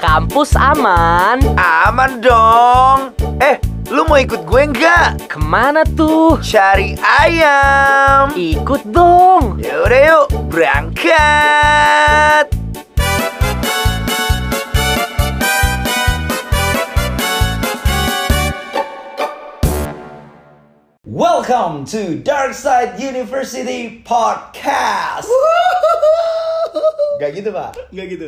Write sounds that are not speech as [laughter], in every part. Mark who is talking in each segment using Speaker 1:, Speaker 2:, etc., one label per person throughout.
Speaker 1: kampus aman.
Speaker 2: Aman dong. Eh, lu mau ikut gue nggak?
Speaker 1: Kemana tuh?
Speaker 2: Cari ayam.
Speaker 1: Ikut dong.
Speaker 2: Yaudah yuk, berangkat. Welcome to Dark Side University Podcast. Gak gitu pak?
Speaker 3: Gak gitu.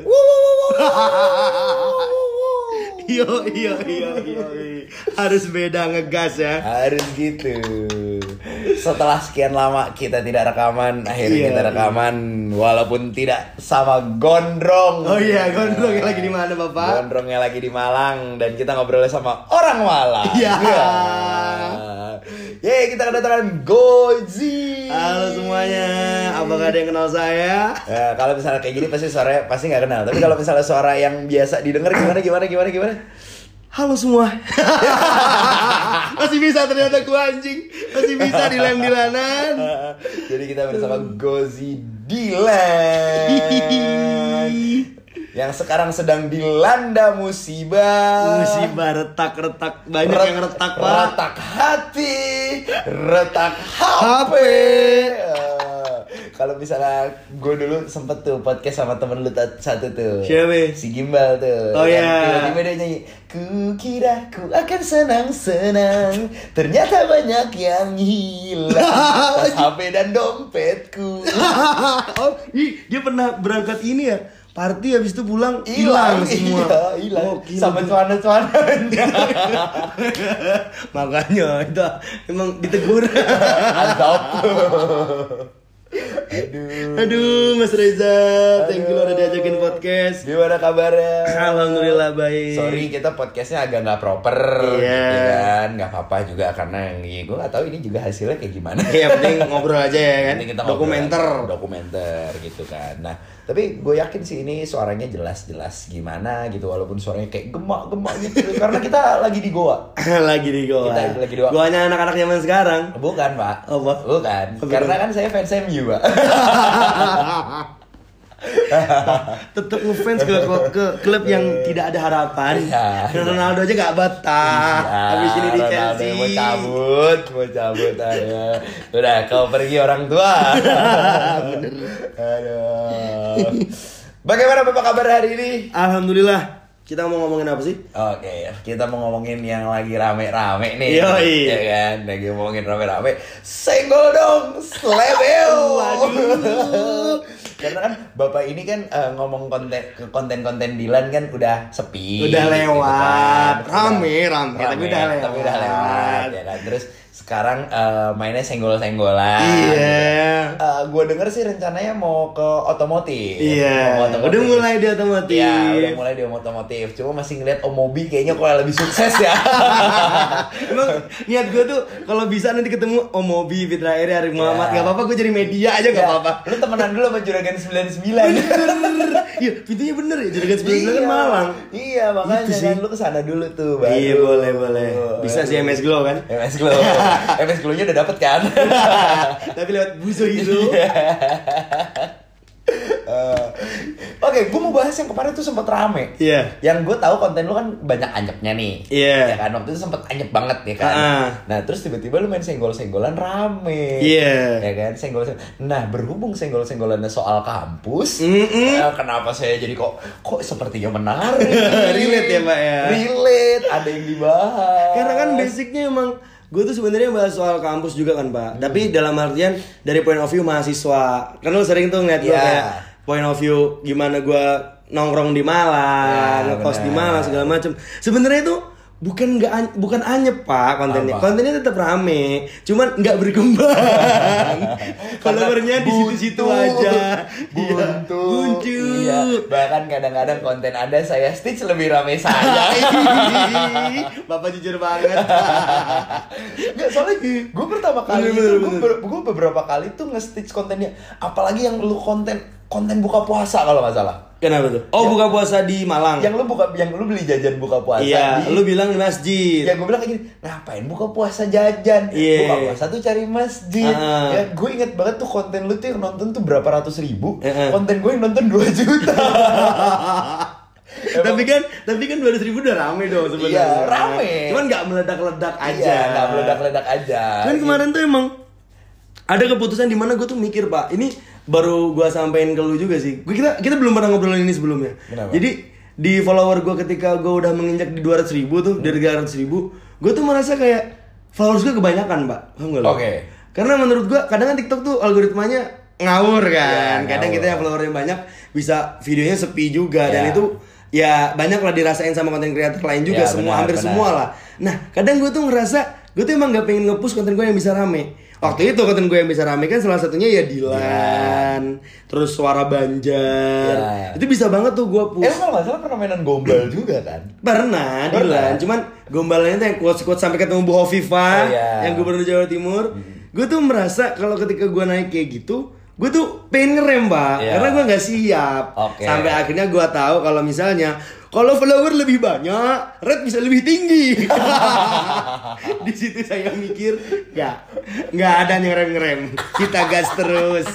Speaker 3: Yo, yo, yo, yo. Harus beda ngegas ya.
Speaker 2: Harus gitu. Setelah sekian lama kita tidak rekaman, akhirnya
Speaker 3: Iya,
Speaker 2: kita
Speaker 3: iya.
Speaker 2: rekaman walaupun tidak sama Gondrong.
Speaker 3: Oh iya, gondrong lagi di mana, Bapak?
Speaker 2: Gondrongnya lagi di Malang dan kita ngobrolnya sama orang Malang.
Speaker 3: Iya.
Speaker 2: Yeay, kita kedatangan Gozi.
Speaker 3: Halo semuanya. Apakah ada yang kenal saya?
Speaker 2: Eh, kalau misalnya kayak gini pasti suara pasti nggak kenal. Tapi kalau misalnya suara yang biasa didengar gimana gimana gimana gimana?
Speaker 3: Halo semua. [laughs] Masih bisa ternyata ku anjing. Masih bisa dilan-dilanan. [laughs]
Speaker 2: Eh, Jadi kita bersama Gozi Dilan
Speaker 3: [laughs]
Speaker 2: yang sekarang sedang dilanda musibah.
Speaker 3: Musibah retak-retak banyak
Speaker 2: Ret-
Speaker 3: yang retak, Pak.
Speaker 2: Retak hati, retak HP.
Speaker 3: HP.
Speaker 2: Eh, Kalau misalnya gue dulu sempet tuh podcast sama temen lu tat- satu tuh
Speaker 3: Siapa?
Speaker 2: Si Gimbal tuh
Speaker 3: Oh,
Speaker 2: Yang
Speaker 3: iya.
Speaker 2: Tiba-tiba dia nyanyi Kukira ku akan senang-senang Ternyata banyak yang
Speaker 3: [laughs]
Speaker 2: hilang Tas HP dan dompetku
Speaker 3: oh, ih, dia pernah berangkat ini ya. Party habis itu pulang
Speaker 2: Hilang
Speaker 3: hilang [laughs] semua. Oh,
Speaker 2: Iya, hilang
Speaker 3: Gokil.
Speaker 2: Sama celana-celananya
Speaker 3: [laughs] Makanya itu emang ditegur. [laughs]
Speaker 2: Azab Aduh
Speaker 3: Aduh, Mas Reza, thank you lo udah diajakin podcast.
Speaker 2: Gimana kabarnya?
Speaker 3: Alhamdulillah baik.
Speaker 2: Sorry kita podcastnya agak nggak proper,
Speaker 3: Iya.
Speaker 2: ya kan? Nggak apa-apa juga karena ya, gue nggak tahu ini juga hasilnya kayak gimana.
Speaker 3: [laughs] Ya penting ngobrol aja ya kan.
Speaker 2: Nanti kita ngobrol.
Speaker 3: Dokumenter. [laughs]
Speaker 2: dokumenter gitu kan. Nah tapi gue yakin sih ini suaranya jelas-jelas gimana gitu walaupun suaranya kayak gemak-gemak gitu karena kita lagi di Goa.
Speaker 3: lagi di goa.
Speaker 2: Kita lagi di goa.
Speaker 3: Goanya anak-anak zaman sekarang.
Speaker 2: Bukan pak?
Speaker 3: Apa?
Speaker 2: Bukan.
Speaker 3: Apa
Speaker 2: Karena
Speaker 3: dong?
Speaker 2: kan saya fans MU pak.
Speaker 3: Tetep ngefans ke, ke, ke klub
Speaker 2: [laughs]
Speaker 3: yang tidak ada harapan.
Speaker 2: Iya.
Speaker 3: Dan Ronaldo aja gak betah.
Speaker 2: Ya,
Speaker 3: Habis ini di
Speaker 2: Ronaldo
Speaker 3: Chelsea.
Speaker 2: Mau cabut, mau cabut aja. Udah, kau pergi orang
Speaker 3: [laughs]
Speaker 2: tua. Bener. Aduh. Bagaimana Bapak kabar hari ini?
Speaker 3: Alhamdulillah. Kita mau ngomongin apa sih?
Speaker 2: Oke, kita mau ngomongin yang lagi rame-rame nih.
Speaker 3: Yoi.
Speaker 2: Ya kan, lagi ngomongin rame-rame. Senggol dong, slebeo.
Speaker 3: Waduh.
Speaker 2: [laughs] Karena kan Bapak ini kan eh, ngomong konten ke konten-konten Dilan kan udah sepi.
Speaker 3: Udah
Speaker 2: gitu
Speaker 3: lewat.
Speaker 2: kan.
Speaker 3: Rame, rame, tapi udah lewat.
Speaker 2: Tapi udah lewat, ya kan. Terus sekarang eh, mainnya senggol-senggolan.
Speaker 3: Iya.
Speaker 2: gue Eh, denger sih rencananya mau ke otomotif. Mau
Speaker 3: Iya.
Speaker 2: otomotif.
Speaker 3: Udah mulai di otomotif.
Speaker 2: Iya, udah mulai di otomotif. Cuma masih ngeliat Omobi kayaknya kalau lebih sukses
Speaker 3: [laughs]
Speaker 2: ya.
Speaker 3: Emang niat gue tuh kalau bisa nanti ketemu oh, Omobi, Fitra Eri, Arif Muhammad,
Speaker 2: Ya.
Speaker 3: gak apa-apa gue jadi media aja gak
Speaker 2: Ya,
Speaker 3: apa-apa.
Speaker 2: Lu temenan dulu sama juragan 99.
Speaker 3: Bener. Iya, pintunya bener ya, juragan sebelah
Speaker 2: Iya.
Speaker 3: kan Malang.
Speaker 2: Iya, makanya
Speaker 3: Itu sih.
Speaker 2: kan lu kesana dulu tuh. baru.
Speaker 3: Iya boleh boleh. Bisa sih MS Glow [laughs] kan?
Speaker 2: MS Glow. MS Glow-nya udah dapet
Speaker 3: [laughs]
Speaker 2: kan?
Speaker 3: Tapi lewat buzo gitu. itu.
Speaker 2: Eh, Oke, gue mau bahas yang kemarin tuh sempet rame.
Speaker 3: Iya.
Speaker 2: Yang gue tahu konten lu kan banyak anyepnya nih. Ya
Speaker 3: Iya.
Speaker 2: kan waktu itu sempet anyep banget ya kan.
Speaker 3: Ah.
Speaker 2: Nah terus tiba-tiba lu main senggol-senggolan rame.
Speaker 3: Iya.
Speaker 2: Ya kan senggol Nah berhubung senggol-senggolannya soal kampus.
Speaker 3: Mm-mm.
Speaker 2: eh, kenapa saya jadi kok kok sepertinya menarik.
Speaker 3: [laughs] Relate ya, Pak, ya?
Speaker 2: Relate. Ada yang dibahas.
Speaker 3: Karena kan basicnya emang gue tuh sebenarnya bahas soal kampus juga kan pak.
Speaker 2: Hmm.
Speaker 3: Tapi dalam artian dari point of view mahasiswa. Karena lu sering tuh ngeliat gue
Speaker 2: Iya.
Speaker 3: kayak point of view gimana gue nongkrong di Malang,
Speaker 2: Ya,
Speaker 3: ngekos di
Speaker 2: benar.
Speaker 3: Malang segala macem. Sebenarnya itu bukan nggak an- bukan anyep pak kontennya.
Speaker 2: Apa?
Speaker 3: Kontennya tetap rame, cuman nggak
Speaker 2: [laughs]
Speaker 3: berkembang. Followernya di
Speaker 2: Buntu.
Speaker 3: situ-situ aja. Iya,
Speaker 2: Buntu.
Speaker 3: Buntu. [laughs]
Speaker 2: Iya. Bahkan kadang-kadang konten Anda saya stitch lebih rame
Speaker 3: [laughs]
Speaker 2: saya.
Speaker 3: Bapak jujur banget.
Speaker 2: Nggak, soalnya gue pertama kali
Speaker 3: Bener, bener,
Speaker 2: itu gue,
Speaker 3: bener.
Speaker 2: beberapa kali tuh nge-stitch kontennya. Apalagi yang lu konten konten buka puasa kalau nggak salah.
Speaker 3: Kenapa tuh? Oh, buka puasa di Malang.
Speaker 2: Yang lu buka yang lu beli jajan buka puasa.
Speaker 3: Hmm. Iya,
Speaker 2: di-
Speaker 3: lu bilang di masjid.
Speaker 2: Ya gue bilang kayak gini, ngapain buka puasa jajan?
Speaker 3: Iya.
Speaker 2: Buka puasa tuh cari masjid.
Speaker 3: Ah.
Speaker 2: Ya, gue inget banget tuh konten
Speaker 3: Eh,
Speaker 2: lu tuh yang nonton tuh berapa ratus ribu.
Speaker 3: Heeh.
Speaker 2: Konten gue yang nonton 2 juta.
Speaker 3: [laughs] tapi kan tapi kan 200 ribu udah rame dong sebenarnya.
Speaker 2: Iya, rame.
Speaker 3: Cuman nggak meledak-ledak [laughs] aja.
Speaker 2: Iya, nggak meledak-ledak aja.
Speaker 3: Kan kemarin tuh emang ada keputusan di mana gue tuh mikir pak, ini baru gue sampein ke lu juga sih. Gue kita kita belum pernah ngobrolin ini sebelumnya.
Speaker 2: Kenapa?
Speaker 3: Jadi di follower gue ketika gue udah menginjak di 200 ribu
Speaker 2: Hmm.
Speaker 3: tuh dari 300 ribu, gue tuh merasa kayak followers gue kebanyakan pak. Paham nggak lu?
Speaker 2: Oke.
Speaker 3: Karena menurut gue kadang kan TikTok tuh algoritmanya ngawur kan.
Speaker 2: Iya,
Speaker 3: kadang
Speaker 2: ngawur.
Speaker 3: kita yang followernya banyak bisa videonya sepi juga
Speaker 2: Iya.
Speaker 3: dan itu ya banyak lah dirasain sama konten kreator lain juga
Speaker 2: Iya,
Speaker 3: semua
Speaker 2: benar,
Speaker 3: hampir
Speaker 2: benar.
Speaker 3: semua lah. Nah, kadang gue tuh ngerasa gue tuh emang gak pengen nge-push konten gue yang bisa rame. Waktu itu konten gue yang bisa rame kan salah satunya ya Dilan, terus suara Banjar.
Speaker 2: Ya.
Speaker 3: Itu bisa banget tuh gue
Speaker 2: Eh,
Speaker 3: push.
Speaker 2: lu kalau nggak salah pernah mainan gombal juga kan? Pernah.
Speaker 3: Pernah Dilan, cuman gombalnya tuh yang quotes-quotes sampai ketemu Bu
Speaker 2: Oh,
Speaker 3: Hovifa
Speaker 2: iya. Hmm.
Speaker 3: yang gubernur Jawa Timur. Gue tuh merasa kalau ketika gue naik kayak gitu, gue tuh pengen ngerem pak,
Speaker 2: Iya.
Speaker 3: karena gue nggak siap.
Speaker 2: Oke.
Speaker 3: Sampai akhirnya gue tahu kalau misalnya kalau follower lebih banyak, red bisa lebih
Speaker 2: [laughs]
Speaker 3: tinggi. [laughs] Di situ saya mikir, nggak, nggak ada ngerem-ngerem. Kita gas terus,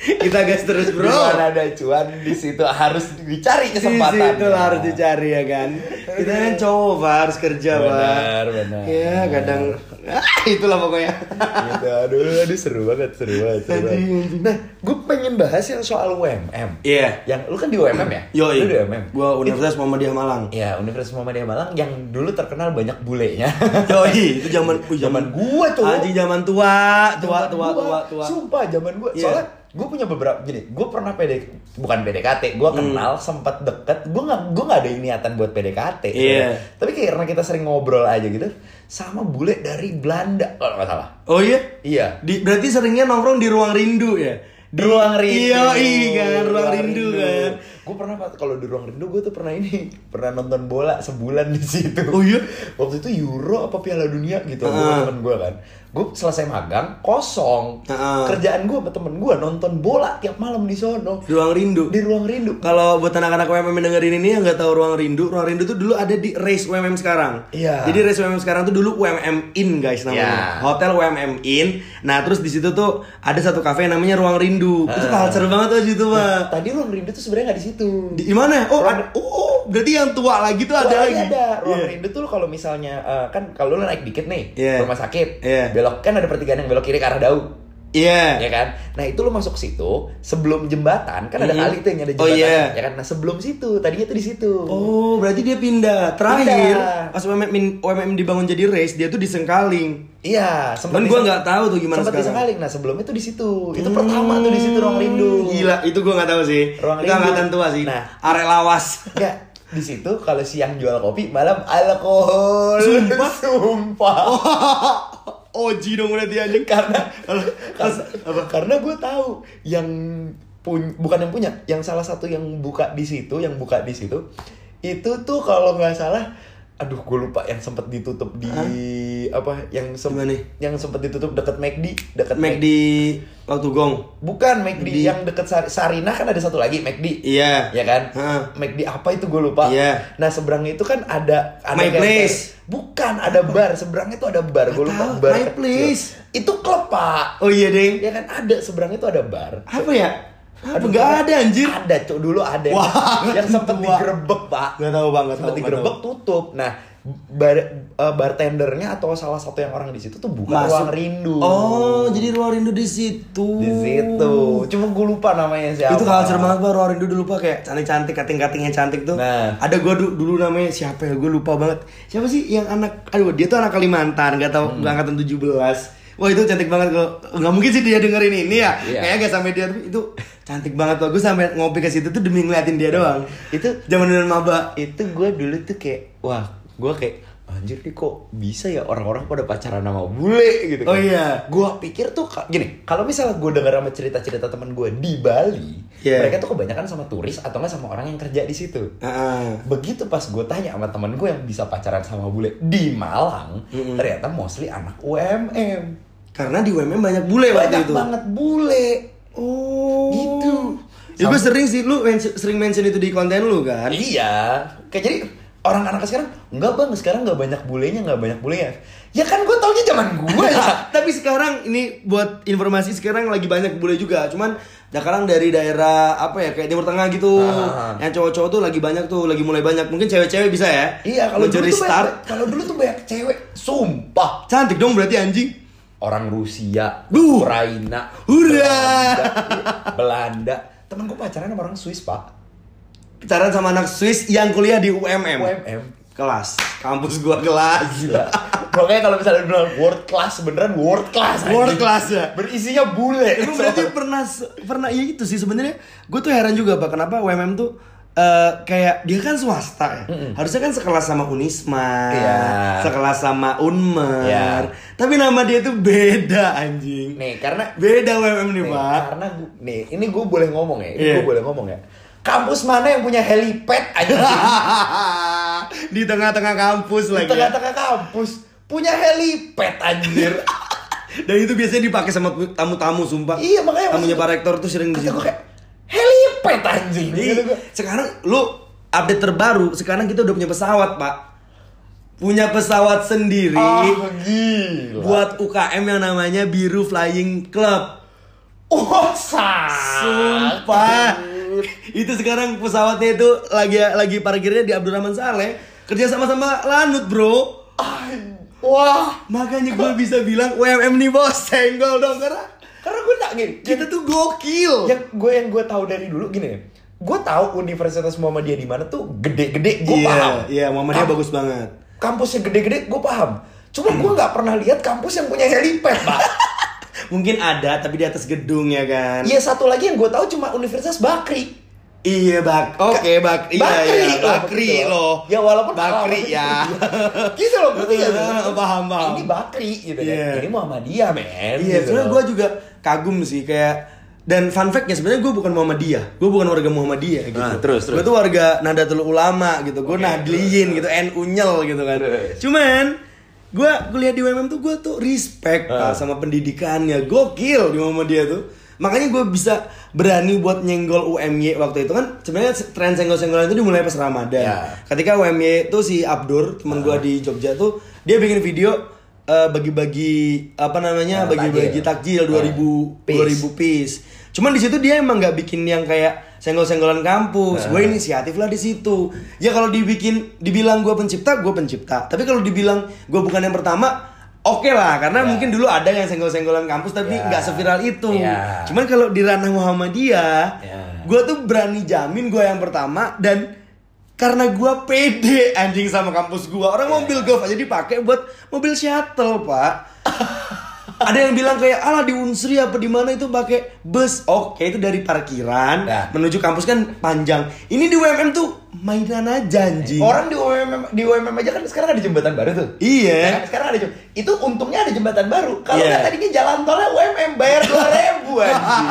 Speaker 3: kita gas terus
Speaker 2: Di
Speaker 3: bro.
Speaker 2: mana ada cuan di situ harus dicari kesempatan.
Speaker 3: Di situ lah harus dicari ya kan. Kita kan cowok Pak, harus kerja pak.
Speaker 2: Benar, benar.
Speaker 3: Ya kadang Ah, itulah
Speaker 2: [laughs]
Speaker 3: pokoknya.
Speaker 2: gitu. Aduh, aduh seru banget, seru banget, seru banget. Nah, gue pengen bahas yang soal UMM.
Speaker 3: Iya.
Speaker 2: Yang lu kan di UMM ya?
Speaker 3: Yo,
Speaker 2: Lu di UMM.
Speaker 3: gua Universitas Muhammadiyah Malang.
Speaker 2: Ya, Universitas Muhammadiyah Malang yang dulu terkenal banyak bulenya.
Speaker 3: Yoi, itu zaman uh, zaman
Speaker 2: gua tuh.
Speaker 3: Anjing zaman tua, tua,
Speaker 2: Zaman
Speaker 3: tua,
Speaker 2: gua,
Speaker 3: tua, tua.
Speaker 2: Sumpah zaman gua.
Speaker 3: Iya.
Speaker 2: Soalnya gua punya beberapa jadi gua pernah PD bukan PDKT, gua
Speaker 3: Hmm.
Speaker 2: kenal sempat deket. Gua nggak gua nggak ada niatan buat PDKT.
Speaker 3: Iya.
Speaker 2: Tapi kayak karena kita sering ngobrol aja gitu sama bule dari Belanda kalau nggak salah.
Speaker 3: Oh iya.
Speaker 2: Iya.
Speaker 3: Di, berarti seringnya nongkrong di ruang rindu ya.
Speaker 2: Di ruang rindu.
Speaker 3: Iya, iya, kan, ruang rindu kan.
Speaker 2: Gue pernah Pak, kalau di ruang rindu gue tuh pernah ini, pernah nonton bola sebulan di situ.
Speaker 3: Oh iya?
Speaker 2: Waktu itu Euro apa Piala Dunia gitu gua sama
Speaker 3: Ah.
Speaker 2: temen gue kan. Gue selesai magang kosong.
Speaker 3: Ah.
Speaker 2: Kerjaan gue sama temen gue nonton bola tiap malam di sono.
Speaker 3: Ruang rindu.
Speaker 2: Di ruang rindu.
Speaker 3: Kalau buat anak-anak UMM yang dengerin ini yang nggak tahu ruang rindu, ruang rindu tuh dulu ada di race UMM sekarang.
Speaker 2: Iya.
Speaker 3: Jadi race UMM sekarang tuh dulu UMM In guys
Speaker 2: Iya.
Speaker 3: namanya. Hotel UMM In. Nah terus di situ tuh ada satu kafe yang namanya ruang rindu. Itu
Speaker 2: Ah.
Speaker 3: culture banget tuh di situ pak.
Speaker 2: Tadi ruang rindu tuh sebenarnya nggak di situ.
Speaker 3: Di di mana? Oh, ada, oh, oh, berarti yang tua lagi tuh ada
Speaker 2: Wah,
Speaker 3: lagi.
Speaker 2: iya ada ruang
Speaker 3: Iya.
Speaker 2: rindu tuh kalau misalnya eh, kan kalau lu naik dikit nih
Speaker 3: Iya.
Speaker 2: ke rumah sakit
Speaker 3: Iya.
Speaker 2: belok kan ada pertigaan yang belok kiri ke arah Dau
Speaker 3: Iya.
Speaker 2: [laughs] ya kan? Nah itu lo masuk situ sebelum jembatan kan ada
Speaker 3: Mhm.
Speaker 2: kali tuh yang ada
Speaker 3: Oh,
Speaker 2: jembatan,
Speaker 3: iya.
Speaker 2: ya kan? Nah sebelum situ tadinya tuh di situ.
Speaker 3: Oh, berarti dia pindah. Terakhir
Speaker 2: Pindah.
Speaker 3: pas UMM, in- UMM dibangun jadi race, dia tuh di Sengkaling.
Speaker 2: Iya,
Speaker 3: Cuman gua nggak tahu tuh
Speaker 2: sempat
Speaker 3: gimana sekarang. Hmm.
Speaker 2: disengaling. Nah sebelumnya tuh di situ. Itu pertama tuh di situ ruang rindu.
Speaker 3: Gila, itu gua nggak tahu sih.
Speaker 2: Ruang
Speaker 3: itu
Speaker 2: rindu.
Speaker 3: angkatan tua sih.
Speaker 2: Nah.
Speaker 3: arek lawas. [laughs]
Speaker 2: Enggak, Ya, di situ kalau siang jual kopi, malam alkohol.
Speaker 3: Sumpah?
Speaker 2: [laughs]
Speaker 3: Oh.
Speaker 2: Sumpah.
Speaker 3: Oji dong udah dia aja
Speaker 2: karena karena gue tahu yang pun bukan yang punya yang salah satu yang buka di situ yang buka di situ itu tuh kalau nggak salah aduh gue lupa yang sempet ditutup di apa yang sem-
Speaker 3: Gimana?
Speaker 2: yang sempet ditutup deket McD deket
Speaker 3: Mac
Speaker 2: Mc-
Speaker 3: di waktu gong.
Speaker 2: bukan McD
Speaker 3: Di-
Speaker 2: yang deket Sar- Sarinah kan ada satu lagi McD
Speaker 3: Iya.
Speaker 2: ya kan
Speaker 3: Heeh.
Speaker 2: McD apa itu gue lupa
Speaker 3: Iya.
Speaker 2: nah seberangnya itu kan ada ada
Speaker 3: My
Speaker 2: kayak-
Speaker 3: Place.
Speaker 2: bukan ada bar seberangnya itu ada bar gue lupa
Speaker 3: Tahu,
Speaker 2: bar
Speaker 3: My
Speaker 2: kecil.
Speaker 3: Place.
Speaker 2: itu klub pak
Speaker 3: Oh iya, Deng.
Speaker 2: Ya kan ada seberang itu ada bar.
Speaker 3: Apa ya? Apa
Speaker 2: Aduh,
Speaker 3: nggak ada anjir?
Speaker 2: Ada cok dulu ada yang,
Speaker 3: Wah,
Speaker 2: yang sempet
Speaker 3: tua.
Speaker 2: digerebek pak.
Speaker 3: Nggak tahu, Bang, nggak
Speaker 2: Sempet
Speaker 3: tahu, nggak
Speaker 2: digerebek tutup. Nah bar eh, bartendernya atau salah satu yang orang di situ tuh buka
Speaker 3: Masuk.
Speaker 2: ruang rindu.
Speaker 3: Oh, jadi ruang rindu di situ.
Speaker 2: di situ. Cuma gue lupa namanya siapa.
Speaker 3: Itu culture banget baru orang dulu lupa kayak cantik-cantik, kating-katingnya cantik tuh.
Speaker 2: Nah.
Speaker 3: Ada gua du- dulu namanya siapa ya? Gua lupa banget. Siapa sih yang anak aduh dia tuh anak Kalimantan,
Speaker 2: Hmm.
Speaker 3: gak tahu gua angkatan 17. Wah itu cantik banget kok. Nggak mungkin sih dia dengerin ini ya.
Speaker 2: Iya.
Speaker 3: Kayaknya gak sampai dia tapi itu cantik banget tuh. Gue sampai ngopi ke situ tuh demi ngeliatin dia doang.
Speaker 2: Itu-
Speaker 3: zaman zaman maba.
Speaker 2: Itu gue dulu tuh kayak wah gue kayak anjir nih kok bisa ya orang-orang pada pacaran sama bule gitu kan.
Speaker 3: Oh iya.
Speaker 2: Gue pikir tuh ka- gini, kalau misalnya gue denger sama cerita-cerita teman gue di Bali,
Speaker 3: Iya.
Speaker 2: mereka tuh kebanyakan sama turis atau nggak sama orang yang kerja di situ.
Speaker 3: Heeh.
Speaker 2: Begitu pas gue tanya sama teman gue yang bisa pacaran sama bule di Malang, ternyata mostly anak UMM.
Speaker 3: Karena di UMM banyak bule waktu
Speaker 2: Banyak
Speaker 3: itu.
Speaker 2: banget bule.
Speaker 3: Oh.
Speaker 2: Gitu.
Speaker 3: Ya gue sering sih lu men- sering mention itu di konten lu kan.
Speaker 2: Iya, kayak jadi orang anak sekarang enggak bang sekarang nggak banyak bulenya nggak banyak bulenya ya kan gue taunya zaman gue ya
Speaker 3: [laughs] Tapi sekarang sekarang ini buat informasi sekarang lagi banyak bule juga. Cuman nah sekarang dari daerah apa ya kayak Timur Tengah gitu.
Speaker 2: Ah.
Speaker 3: Yang cowok-cowok tuh lagi banyak tuh, lagi mulai banyak. Mungkin cewek-cewek bisa ya.
Speaker 2: Iya, kalau dulu
Speaker 3: mencuri
Speaker 2: tuh
Speaker 3: start.
Speaker 2: banyak, kalau dulu tuh banyak cewek, sumpah.
Speaker 3: Cantik dong berarti anjing.
Speaker 2: Orang Rusia,
Speaker 3: Duh.
Speaker 2: Ukraina,
Speaker 3: Hurra.
Speaker 2: Belanda, Iya, Belanda. Temanku pacaran sama orang Swiss, Pak.
Speaker 3: Pacaran sama anak Swiss yang kuliah di UMM.
Speaker 2: UMM.
Speaker 3: Kelas. Kampus gua kelas.
Speaker 2: Gila. Pokoknya kalau misalnya bilang world class beneran world class. anjing.
Speaker 3: World class ya.
Speaker 2: Berisinya bule.
Speaker 3: Emang berarti pernah pernah ya itu sih sebenarnya. Gue tuh heran juga pak kenapa UMM tuh eh, kayak dia kan swasta ya. Harusnya kan sekelas sama Unisma,
Speaker 2: Iya.
Speaker 3: sekelas sama Unmer.
Speaker 2: Iya.
Speaker 3: Tapi nama dia tuh beda anjing.
Speaker 2: Nih, karena
Speaker 3: Beda UMM nih,
Speaker 2: nih,
Speaker 3: Pak. [laughs]
Speaker 2: karena gua- nih ini gue boleh ngomong ya, ini
Speaker 3: Iya.
Speaker 2: gue boleh ngomong ya. Kampus mana yang punya helipad
Speaker 3: [laughs] ya.
Speaker 2: aja
Speaker 3: Di tengah-tengah kampus
Speaker 2: di
Speaker 3: lagi. ya.
Speaker 2: tengah-tengah kampus punya helipad
Speaker 3: [laughs]
Speaker 2: anjir.
Speaker 3: Dan itu biasanya dipakai sama tamu-tamu sumpah.
Speaker 2: Iya, makanya
Speaker 3: Tamunya
Speaker 2: maksud-
Speaker 3: Pak Rektor tuh sering di
Speaker 2: Kata
Speaker 3: situ.
Speaker 2: gue kayak helipad anjing. Gitu
Speaker 3: Ih,
Speaker 2: gua.
Speaker 3: Iya, sekarang lu update terbaru, sekarang kita udah punya pesawat, Pak. Punya pesawat sendiri.
Speaker 2: Ah, gila.
Speaker 3: buat UKM yang namanya Biru Flying Club.
Speaker 2: oh, sak.
Speaker 3: Sumpah. itu sekarang pesawatnya itu lagi lagi parkirnya di Abdurrahman Saleh. Kerja sama sama Lanut, Bro.
Speaker 2: Wah,
Speaker 3: Makanya gue bisa bilang UMM nih bos, senggol dong karena
Speaker 2: karena gue tak gini.
Speaker 3: kita tuh gokil.
Speaker 2: yang gue yang gue tahu dari dulu gini ya gue tahu universitas Muhammadiyah di mana tuh gede-gede gue
Speaker 3: Iya,
Speaker 2: paham
Speaker 3: iya, Muhammadiyah
Speaker 2: Kam-
Speaker 3: bagus banget.
Speaker 2: kampusnya gede-gede gue paham cuma gue nggak pernah lihat kampus yang punya helipad
Speaker 3: [laughs]
Speaker 2: pak
Speaker 3: Mungkin ada tapi di atas gedung ya kan.
Speaker 2: iya satu lagi yang gue tahu cuma universitas Bakri
Speaker 3: Iya, Bak. Oke, Bak. Iya,
Speaker 2: Bakri
Speaker 3: iya,
Speaker 2: loh,
Speaker 3: Bakri
Speaker 2: gitu.
Speaker 3: loh.
Speaker 2: ya walaupun walaupun-
Speaker 3: Bakri ya.
Speaker 2: [laughs] gitu loh gue tuh ya.
Speaker 3: Iya, [laughs] paham, paham.
Speaker 2: ini Bakri gitu kan
Speaker 3: Iya.
Speaker 2: ini Muhammadiyah men
Speaker 3: Iya,
Speaker 2: gitu
Speaker 3: sebenarnya
Speaker 2: loh.
Speaker 3: gue juga kagum sih kayak dan fun fact-nya sebenarnya gue bukan Muhammadiyah, gue bukan warga Muhammadiyah gitu.
Speaker 2: Ah, terus, terus.
Speaker 3: Gue tuh warga Nahdlatul Ulama gitu, gue Nahdliyin gitu, NU nyel gitu kan. Cuman gue kuliah di UMM tuh gue tuh respect
Speaker 2: Ah.
Speaker 3: Pak, sama pendidikannya, gokil di Muhammadiyah tuh. Makanya gue bisa berani buat nyenggol UMY waktu itu kan sebenarnya tren senggol-senggolan itu dimulai pas Ramadan.
Speaker 2: Ya. Ah.
Speaker 3: Ketika UMY tuh si Abdur temen gue di Jogja tuh dia bikin video eh, bagi-bagi apa
Speaker 2: Nah,
Speaker 3: namanya Iya, bagi-bagi
Speaker 2: takjil.
Speaker 3: takjil 2000
Speaker 2: Piece.
Speaker 3: 2000 piece. Cuman di situ dia emang nggak bikin yang kayak senggol-senggolan kampus. Gue inisiatif lah di situ. Ya kalau dibikin dibilang gue pencipta, gue pencipta. Tapi kalau dibilang gue bukan yang pertama, oke lah karena mungkin dulu ada yang senggol-senggolan kampus tapi
Speaker 2: Ya.
Speaker 3: nggak seviral itu.
Speaker 2: Ya.
Speaker 3: Cuman kalau di ranah Muhammadiyah,
Speaker 2: Ya.
Speaker 3: gue tuh berani jamin gue yang pertama dan karena gue pede anjing sama kampus gue. Orang mobil golf aja dipakai buat mobil shuttle, Pak ada yang bilang kayak ala di Unsri apa di mana itu pakai bus. Oke, itu dari parkiran
Speaker 2: Nah.
Speaker 3: menuju kampus kan panjang. Ini di UMM tuh mainan aja anjing.
Speaker 2: Orang di UMM di UMM aja kan sekarang ada jembatan baru tuh.
Speaker 3: Iya.
Speaker 2: Ya kan? Sekarang ada jembatan. Itu untungnya ada jembatan baru. Kalau
Speaker 3: Iya.
Speaker 2: nggak tadinya jalan tolnya UMM bayar
Speaker 3: [laughs]
Speaker 2: 2000 anjing.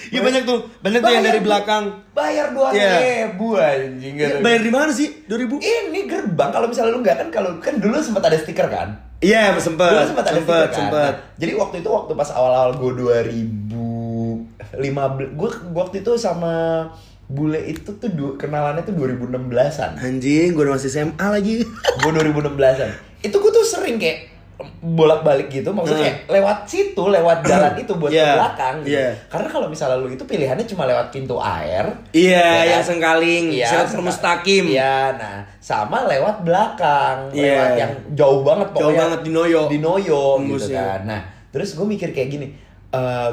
Speaker 3: Iya banyak tuh, banyak tuh yang dari belakang.
Speaker 2: Bayar 2000 anjing. gitu.
Speaker 3: Ya, Bayar di mana sih? 2000?
Speaker 2: Ini gerbang kalau misalnya lu nggak kan kalau kan dulu sempat ada stiker kan?
Speaker 3: Iya, sempet.
Speaker 2: Dulu sempat ada
Speaker 3: sempet,
Speaker 2: stiker kan?
Speaker 3: sempet.
Speaker 2: Nah, Jadi waktu itu waktu pas awal-awal gue 2015 gue waktu itu sama bule itu tuh du- kenalannya tuh 2016-an.
Speaker 3: Anjing, gue masih SMA lagi.
Speaker 2: gue 2016an itu gue tuh sering kayak bolak-balik gitu maksudnya
Speaker 3: Hmm.
Speaker 2: kayak lewat situ lewat jalan itu buat ke
Speaker 3: Yeah.
Speaker 2: belakang gitu.
Speaker 3: Yeah.
Speaker 2: karena kalau misalnya lu itu pilihannya cuma lewat pintu air
Speaker 3: [laughs]
Speaker 2: ya
Speaker 3: Iya,
Speaker 2: kan?
Speaker 3: yang sengkaling,
Speaker 2: Iya,
Speaker 3: Syarat
Speaker 2: sengka-
Speaker 3: Mustaqim.
Speaker 2: iya nah sama lewat belakang
Speaker 3: Iya.
Speaker 2: lewat yang jauh banget
Speaker 3: Jauh banget, di Noyo. iya.
Speaker 2: di Noyo gitu
Speaker 3: Tembusnya.
Speaker 2: kan nah terus gue mikir kayak gini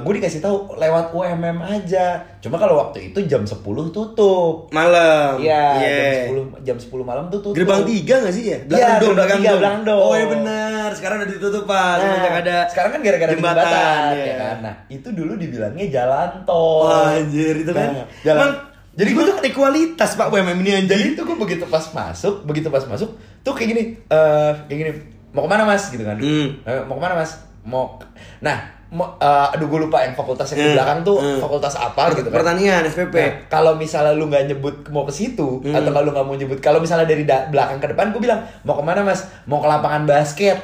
Speaker 2: gue dikasih tahu lewat UMM aja cuma kalau waktu itu jam 10 tutup
Speaker 3: Malam.
Speaker 2: Iya,
Speaker 3: Iya.
Speaker 2: jam 10 jam 10 malam tuh tutup.
Speaker 3: Gerbang tiga gak sih ya?
Speaker 2: Iya,
Speaker 3: dom,
Speaker 2: gerbang tiga, belakang dom.
Speaker 3: Oh iya benar. Sekarang udah ditutup pak. Semenjak
Speaker 2: Nah,
Speaker 3: ada
Speaker 2: sekarang kan gara-gara jembatan,
Speaker 3: iya.
Speaker 2: ya kan? Nah, itu dulu dibilangnya jalan tol.
Speaker 3: Wah, anjir itu kan.
Speaker 2: Nah, jalan.
Speaker 3: Emang, jadi gue tuh ada kualitas pak UMM ini anjir.
Speaker 2: Jadi itu gue begitu pas masuk, begitu pas masuk tuh kayak gini, eh kayak gini, mau kemana mas gitu kan?
Speaker 3: Hmm.
Speaker 2: "Eh, mau kemana mas? Mau, nah, mau, eh, aduh gue lupa yang fakultas yang di
Speaker 3: Hmm,
Speaker 2: belakang tuh
Speaker 3: hmm.
Speaker 2: fakultas apa gitu kan?
Speaker 3: Pertanian FPP.
Speaker 2: Nah, kalau misalnya lu nggak nyebut mau ke situ
Speaker 3: Hmm.
Speaker 2: atau kalau lu nggak mau nyebut, kalau misalnya dari da- belakang ke depan gue bilang mau kemana mas? Mau ke lapangan basket.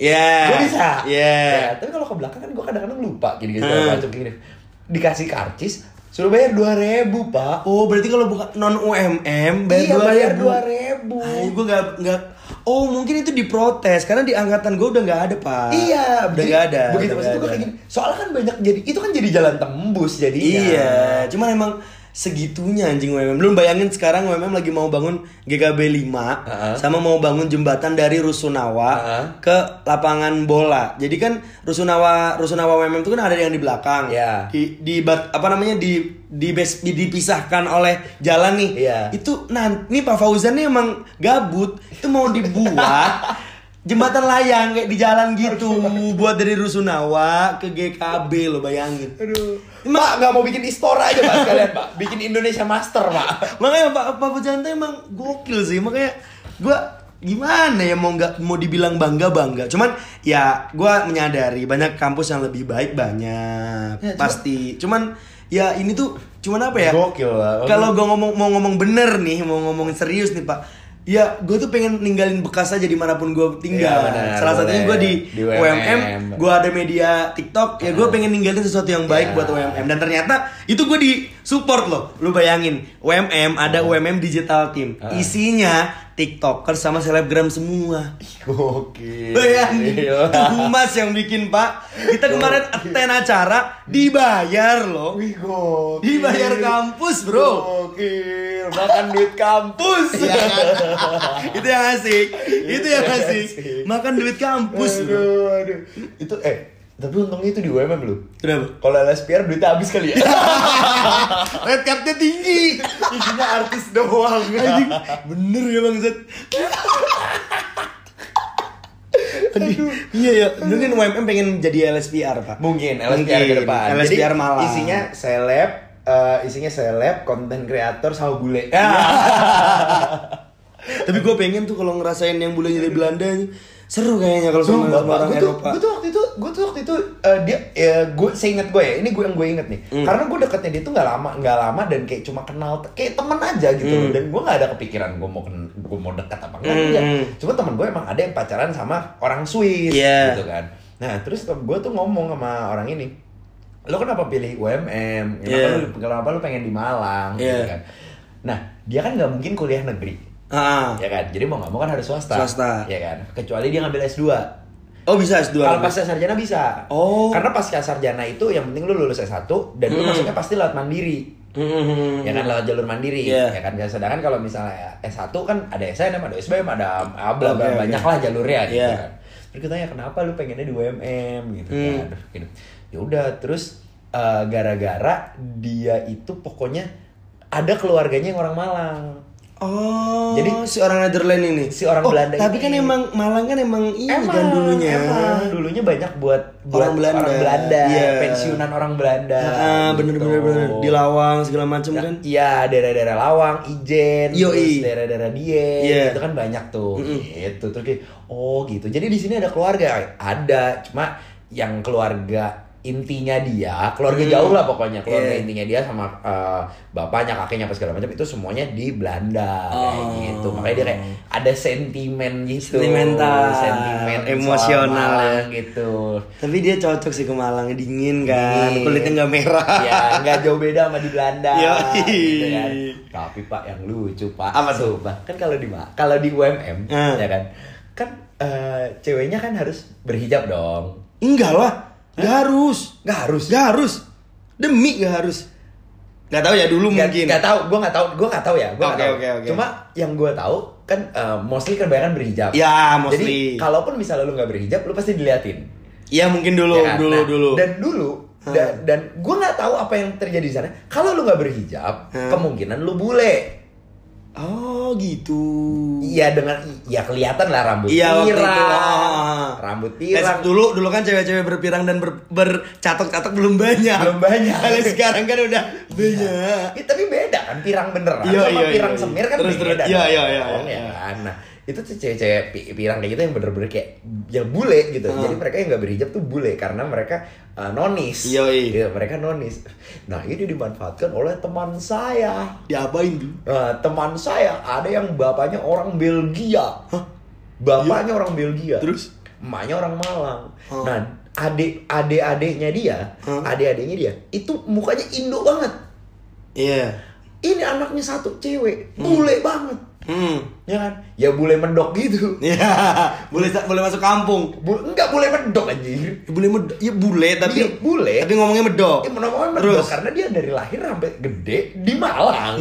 Speaker 3: Iya.
Speaker 2: gue bisa
Speaker 3: Iya.
Speaker 2: Ya, tapi kalau ke belakang kan gue kadang-kadang lupa gini gini
Speaker 3: Hmm.
Speaker 2: macam gini dikasih karcis suruh bayar dua ribu pak
Speaker 3: Oh berarti kalau bukan non UMM
Speaker 2: iya
Speaker 3: bayar
Speaker 2: bayar
Speaker 3: dua
Speaker 2: dua ribu
Speaker 3: Ayo gue nggak nggak. Oh mungkin itu diprotes karena di angkatan gue udah nggak ada pak.
Speaker 2: Iya,
Speaker 3: udah
Speaker 2: begitu-
Speaker 3: nggak ada.
Speaker 2: Begitu
Speaker 3: udah
Speaker 2: maksud
Speaker 3: nggak
Speaker 2: gue kayak
Speaker 3: ada.
Speaker 2: gini. Soalnya kan banyak jadi itu kan jadi jalan tembus jadinya.
Speaker 3: Iya, cuman emang segitunya anjing UMM. Belum bayangin sekarang UMM lagi mau bangun GKB 5
Speaker 2: Heeh.
Speaker 3: sama mau bangun jembatan dari Rusunawa
Speaker 2: Heeh.
Speaker 3: ke lapangan bola. Jadi kan Rusunawa Rusunawa UMM itu kan ada yang di belakang.
Speaker 2: Iya.
Speaker 3: Di, di bat- apa namanya di di bes- di- dipisahkan oleh jalan nih.
Speaker 2: Iya.
Speaker 3: Itu nanti Pak Fauzan nih emang gabut itu mau dibuat
Speaker 2: [laughs]
Speaker 3: jembatan layang kayak di jalan gitu buat dari Rusunawa ke GKB lo bayangin.
Speaker 2: Aduh. Pak nggak mau bikin istora aja pak sekalian pak, bikin Indonesia Master pak.
Speaker 3: makanya Pak Pak Pujanto emang gokil sih makanya gua gimana ya mau nggak mau dibilang bangga bangga cuman ya gua menyadari banyak kampus yang lebih baik banyak
Speaker 2: Ya, cuma-
Speaker 3: pasti cuman ya ini tuh cuman apa ya
Speaker 2: Gokil lah.
Speaker 3: kalau gua ngomong mau ngomong bener nih mau ngomongin serius nih Pak ya gue tuh pengen ninggalin bekas aja dimanapun gue tinggal
Speaker 2: Iya, benar,
Speaker 3: salah satunya gue
Speaker 2: boleh.
Speaker 3: di,
Speaker 2: Di
Speaker 3: UMM,
Speaker 2: UMM.
Speaker 3: gue ada media TikTok ya gue pengen ninggalin sesuatu yang baik
Speaker 2: Ya.
Speaker 3: buat UMM dan ternyata itu gue di support loh lu bayangin UMM ada UMM digital team
Speaker 2: Ah.
Speaker 3: isinya TikToker sama selebgram semua
Speaker 2: Gokil. Iya.
Speaker 3: bayangin
Speaker 2: Gila.
Speaker 3: humas yang bikin pak kita kemarin attend acara dibayar loh
Speaker 2: Wih gokil.
Speaker 3: Dibayar kampus, bro.
Speaker 2: Gokil. Makan duit kampus.
Speaker 3: Iya kan? [laughs] itu yang asik itu yang
Speaker 2: yang
Speaker 3: asik
Speaker 2: asik.
Speaker 3: makan duit kampus bro
Speaker 2: aduh, aduh. Itu eh tapi untungnya itu di UMM lu.
Speaker 3: Kenapa?
Speaker 2: Kalau LSPR duitnya habis kali ya.
Speaker 3: Red cardnya [laughs] tinggi
Speaker 2: Isinya artis doang.
Speaker 3: Anjing, bener ya Bang Zat. Tadi, iya ya, mungkin UMM pengen jadi LSPR pak.
Speaker 2: Mungkin LSPR ke depan.
Speaker 3: LSPR malah.
Speaker 2: Isinya seleb, eh, isinya seleb, konten kreator sama bule.
Speaker 3: Ya. [laughs] Tapi gue pengen tuh kalau ngerasain yang bule dari Belanda seru kayaknya kalau sama, sama orang
Speaker 2: gue tuh,
Speaker 3: Eropa.
Speaker 2: gua tuh waktu itu, gue tuh waktu itu eh, dia, ya, gue seinget gue ya, ini gue yang gue inget nih.
Speaker 3: Hmm.
Speaker 2: Karena gue deketnya dia tuh nggak lama, nggak lama dan kayak cuma kenal, kayak temen aja gitu. loh. Dan gue nggak ada kepikiran gue mau ken- gue mau deket apa enggak.
Speaker 3: Hmm.
Speaker 2: enggak. Cuma temen gue emang ada yang pacaran sama orang Swiss
Speaker 3: Iya.
Speaker 2: gitu kan. Nah terus gue tuh ngomong sama orang ini, lo kenapa pilih UMM? Kenapa,
Speaker 3: Iya.
Speaker 2: lu, kenapa lu pengen di Malang? Gitu
Speaker 3: Iya.
Speaker 2: kan. Nah dia kan nggak mungkin kuliah negeri.
Speaker 3: Ah.
Speaker 2: Ya kan, jadi mau nggak mau kan harus swasta.
Speaker 3: Swasta.
Speaker 2: Ya kan, kecuali dia ngambil S2.
Speaker 3: Oh bisa S2.
Speaker 2: Kalau pasca sarjana bisa.
Speaker 3: Oh.
Speaker 2: Karena pasca sarjana itu yang penting lu lulus S1 dan lu
Speaker 3: Hmm.
Speaker 2: masuknya pasti lewat mandiri.
Speaker 3: Hmm.
Speaker 2: Ya kan lewat jalur mandiri.
Speaker 3: Iya.
Speaker 2: Ya kan Ya, sedangkan kalau misalnya S1 kan ada SNM, ada SBM, ada ah, bla
Speaker 3: Oke,
Speaker 2: bla
Speaker 3: oke.
Speaker 2: banyak lah jalurnya gitu
Speaker 3: Iya.
Speaker 2: kan. Terus kita tanya kenapa lu pengennya di UMM gitu
Speaker 3: Hmm.
Speaker 2: kan. Gitu. Ya udah terus eh, gara-gara dia itu pokoknya ada keluarganya yang orang Malang.
Speaker 3: Oh. Jadi
Speaker 2: Jadi-
Speaker 3: si orang Netherlands ini.
Speaker 2: Si orang
Speaker 3: Oh,
Speaker 2: Belanda
Speaker 3: Tapi
Speaker 2: ini.
Speaker 3: kan emang Malang kan emang ini kan dulunya.
Speaker 2: emang. dulunya banyak buat, buat
Speaker 3: Orang Belanda.
Speaker 2: orang Belanda,
Speaker 3: Iya.
Speaker 2: pensiunan orang Belanda.
Speaker 3: Ah, bener
Speaker 2: gitu.
Speaker 3: bener bener di Lawang segala macam
Speaker 2: Nah,
Speaker 3: kan.
Speaker 2: Iya, daerah-daerah Lawang, Ijen,
Speaker 3: Yoi.
Speaker 2: terus daerah-daerah Dieng,
Speaker 3: Iya.
Speaker 2: itu kan banyak tuh.
Speaker 3: Mm-mm.
Speaker 2: Gitu. Terus dia, oh gitu. Jadi di sini ada keluarga, ada. Cuma yang keluarga intinya dia, keluarga
Speaker 3: Hmm.
Speaker 2: jauh lah pokoknya. Keluarga
Speaker 3: Iya.
Speaker 2: intinya dia sama eh, bapaknya, kakeknya apa segala macam itu semuanya di Belanda kayak
Speaker 3: Oh.
Speaker 2: gitu. Makanya dia kayak ada sentimen gitu.
Speaker 3: Sentimental,
Speaker 2: sentimen soal
Speaker 3: emosional ya.
Speaker 2: Malang gitu.
Speaker 3: Tapi dia cocok sih ke Malang, dingin kan,
Speaker 2: Dingin.
Speaker 3: kulitnya nggak merah.
Speaker 2: ya nggak jauh beda sama di Belanda
Speaker 3: Yoi.
Speaker 2: gitu kan. tapi pak yang lucu pak
Speaker 3: Apa tuh?
Speaker 2: Sumpah. kan kalau di Ma- kalau di UMM
Speaker 3: Hmm.
Speaker 2: ya kan kan eh, ceweknya kan harus berhijab dong
Speaker 3: Enggak lah, nggak harus,
Speaker 2: nggak harus
Speaker 3: nggak harus, demi nggak harus. Nggak tahu ya dulu
Speaker 2: nggak
Speaker 3: mungkin.
Speaker 2: nggak tahu gue nggak tahu gue nggak tahu ya gue nggak
Speaker 3: Oke,
Speaker 2: tahu
Speaker 3: oke, oke.
Speaker 2: cuma yang gue tahu kan eh, mostly kebanyakan berhijab
Speaker 3: Ya,
Speaker 2: jadi
Speaker 3: mostly.
Speaker 2: kalaupun misalnya lu nggak berhijab lu pasti diliatin
Speaker 3: Iya mungkin dulu,
Speaker 2: Ya kan?
Speaker 3: dulu,
Speaker 2: Nah,
Speaker 3: dulu.
Speaker 2: Dan dulu
Speaker 3: Hmm.
Speaker 2: dan, dan gue nggak tahu apa yang terjadi di sana. Kalau lu nggak berhijab,
Speaker 3: Hmm.
Speaker 2: kemungkinan lu bule.
Speaker 3: Oh gitu.
Speaker 2: Iya dengan ya kelihatan lah rambut
Speaker 3: Iya, waktu itu,
Speaker 2: pirang,
Speaker 3: ah.
Speaker 2: rambut
Speaker 3: Eh,
Speaker 2: pirang.
Speaker 3: dulu dulu kan cewek-cewek berpirang dan ber, bercatok-catok belum banyak.
Speaker 2: Belum banyak.
Speaker 3: Kalau sekarang kan udah banyak.
Speaker 2: Ih, tapi beda kan pirang beneran
Speaker 3: Iya,
Speaker 2: sama
Speaker 3: iya,
Speaker 2: pirang
Speaker 3: iya,
Speaker 2: semir kan
Speaker 3: terus,
Speaker 2: beda.
Speaker 3: terus.
Speaker 2: dong.
Speaker 3: Iya, iya, iya,
Speaker 2: Dong,
Speaker 3: iya.
Speaker 2: ya kan? Nah, itu tuh cewek-cewek pi- pirang kayak gitu yang bener-bener kayak yang bule gitu.
Speaker 3: Hmm.
Speaker 2: Jadi mereka yang nggak berhijab tuh bule karena mereka uh, nonis.
Speaker 3: Iya, iya.
Speaker 2: Gitu, mereka nonis. Nah, ini dimanfaatkan oleh teman saya.
Speaker 3: Diapain tuh?
Speaker 2: Nah, teman saya ada yang bapaknya orang Belgia. Bapaknya orang Belgia.
Speaker 3: Terus?
Speaker 2: Emaknya orang Malang.
Speaker 3: Hah.
Speaker 2: Nah, adik adik adiknya dia,
Speaker 3: Hah.
Speaker 2: adik adiknya dia, itu mukanya Indo banget.
Speaker 3: Iya.
Speaker 2: Ini anaknya satu cewek, bule banget.
Speaker 3: Hmm.
Speaker 2: ya kan ya boleh mendok gitu
Speaker 3: Ya, [laughs] boleh boleh masuk kampung.
Speaker 2: Bu- enggak boleh mendok anjir
Speaker 3: Ya, boleh medok, ya bule tapi
Speaker 2: Iya, bule.
Speaker 3: Tapi ngomongnya medok.
Speaker 2: ya menokoknya mendok
Speaker 3: Terus
Speaker 2: karena dia dari lahir sampai gede di
Speaker 3: [laughs]
Speaker 2: Malang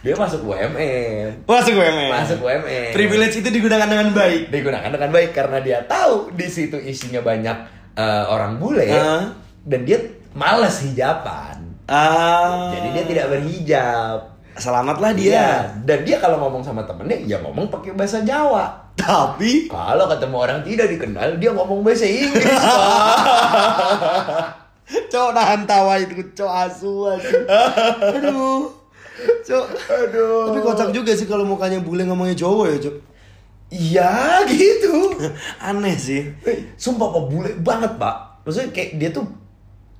Speaker 2: dia masuk UMN
Speaker 3: masuk UMN.
Speaker 2: Masuk UMN.
Speaker 3: Eh. Privilege itu digunakan dengan baik.
Speaker 2: digunakan dengan baik karena dia tahu di situ isinya banyak eh, orang bule
Speaker 3: Ah.
Speaker 2: dan dia males hijaban
Speaker 3: Ah.
Speaker 2: jadi dia tidak berhijab
Speaker 3: selamatlah Ah, dia.
Speaker 2: Iya, dan dia kalau ngomong sama temennya ya ngomong pakai bahasa Jawa.
Speaker 3: Tapi [laughs]
Speaker 2: Kalau ketemu orang tidak dikenal dia ngomong bahasa Inggris.
Speaker 3: [laughs]
Speaker 2: Pak.
Speaker 3: cowok nahan tawa itu cowok asu [laughs] asu. Aduh. Cok.
Speaker 2: Aduh.
Speaker 3: Tapi kocak juga sih kalau mukanya bule ngomongnya Jawa ya, Cok.
Speaker 2: Iya gitu.
Speaker 3: Aneh sih.
Speaker 2: Eh, Sumpah pak bule banget pak. Maksudnya kayak dia tuh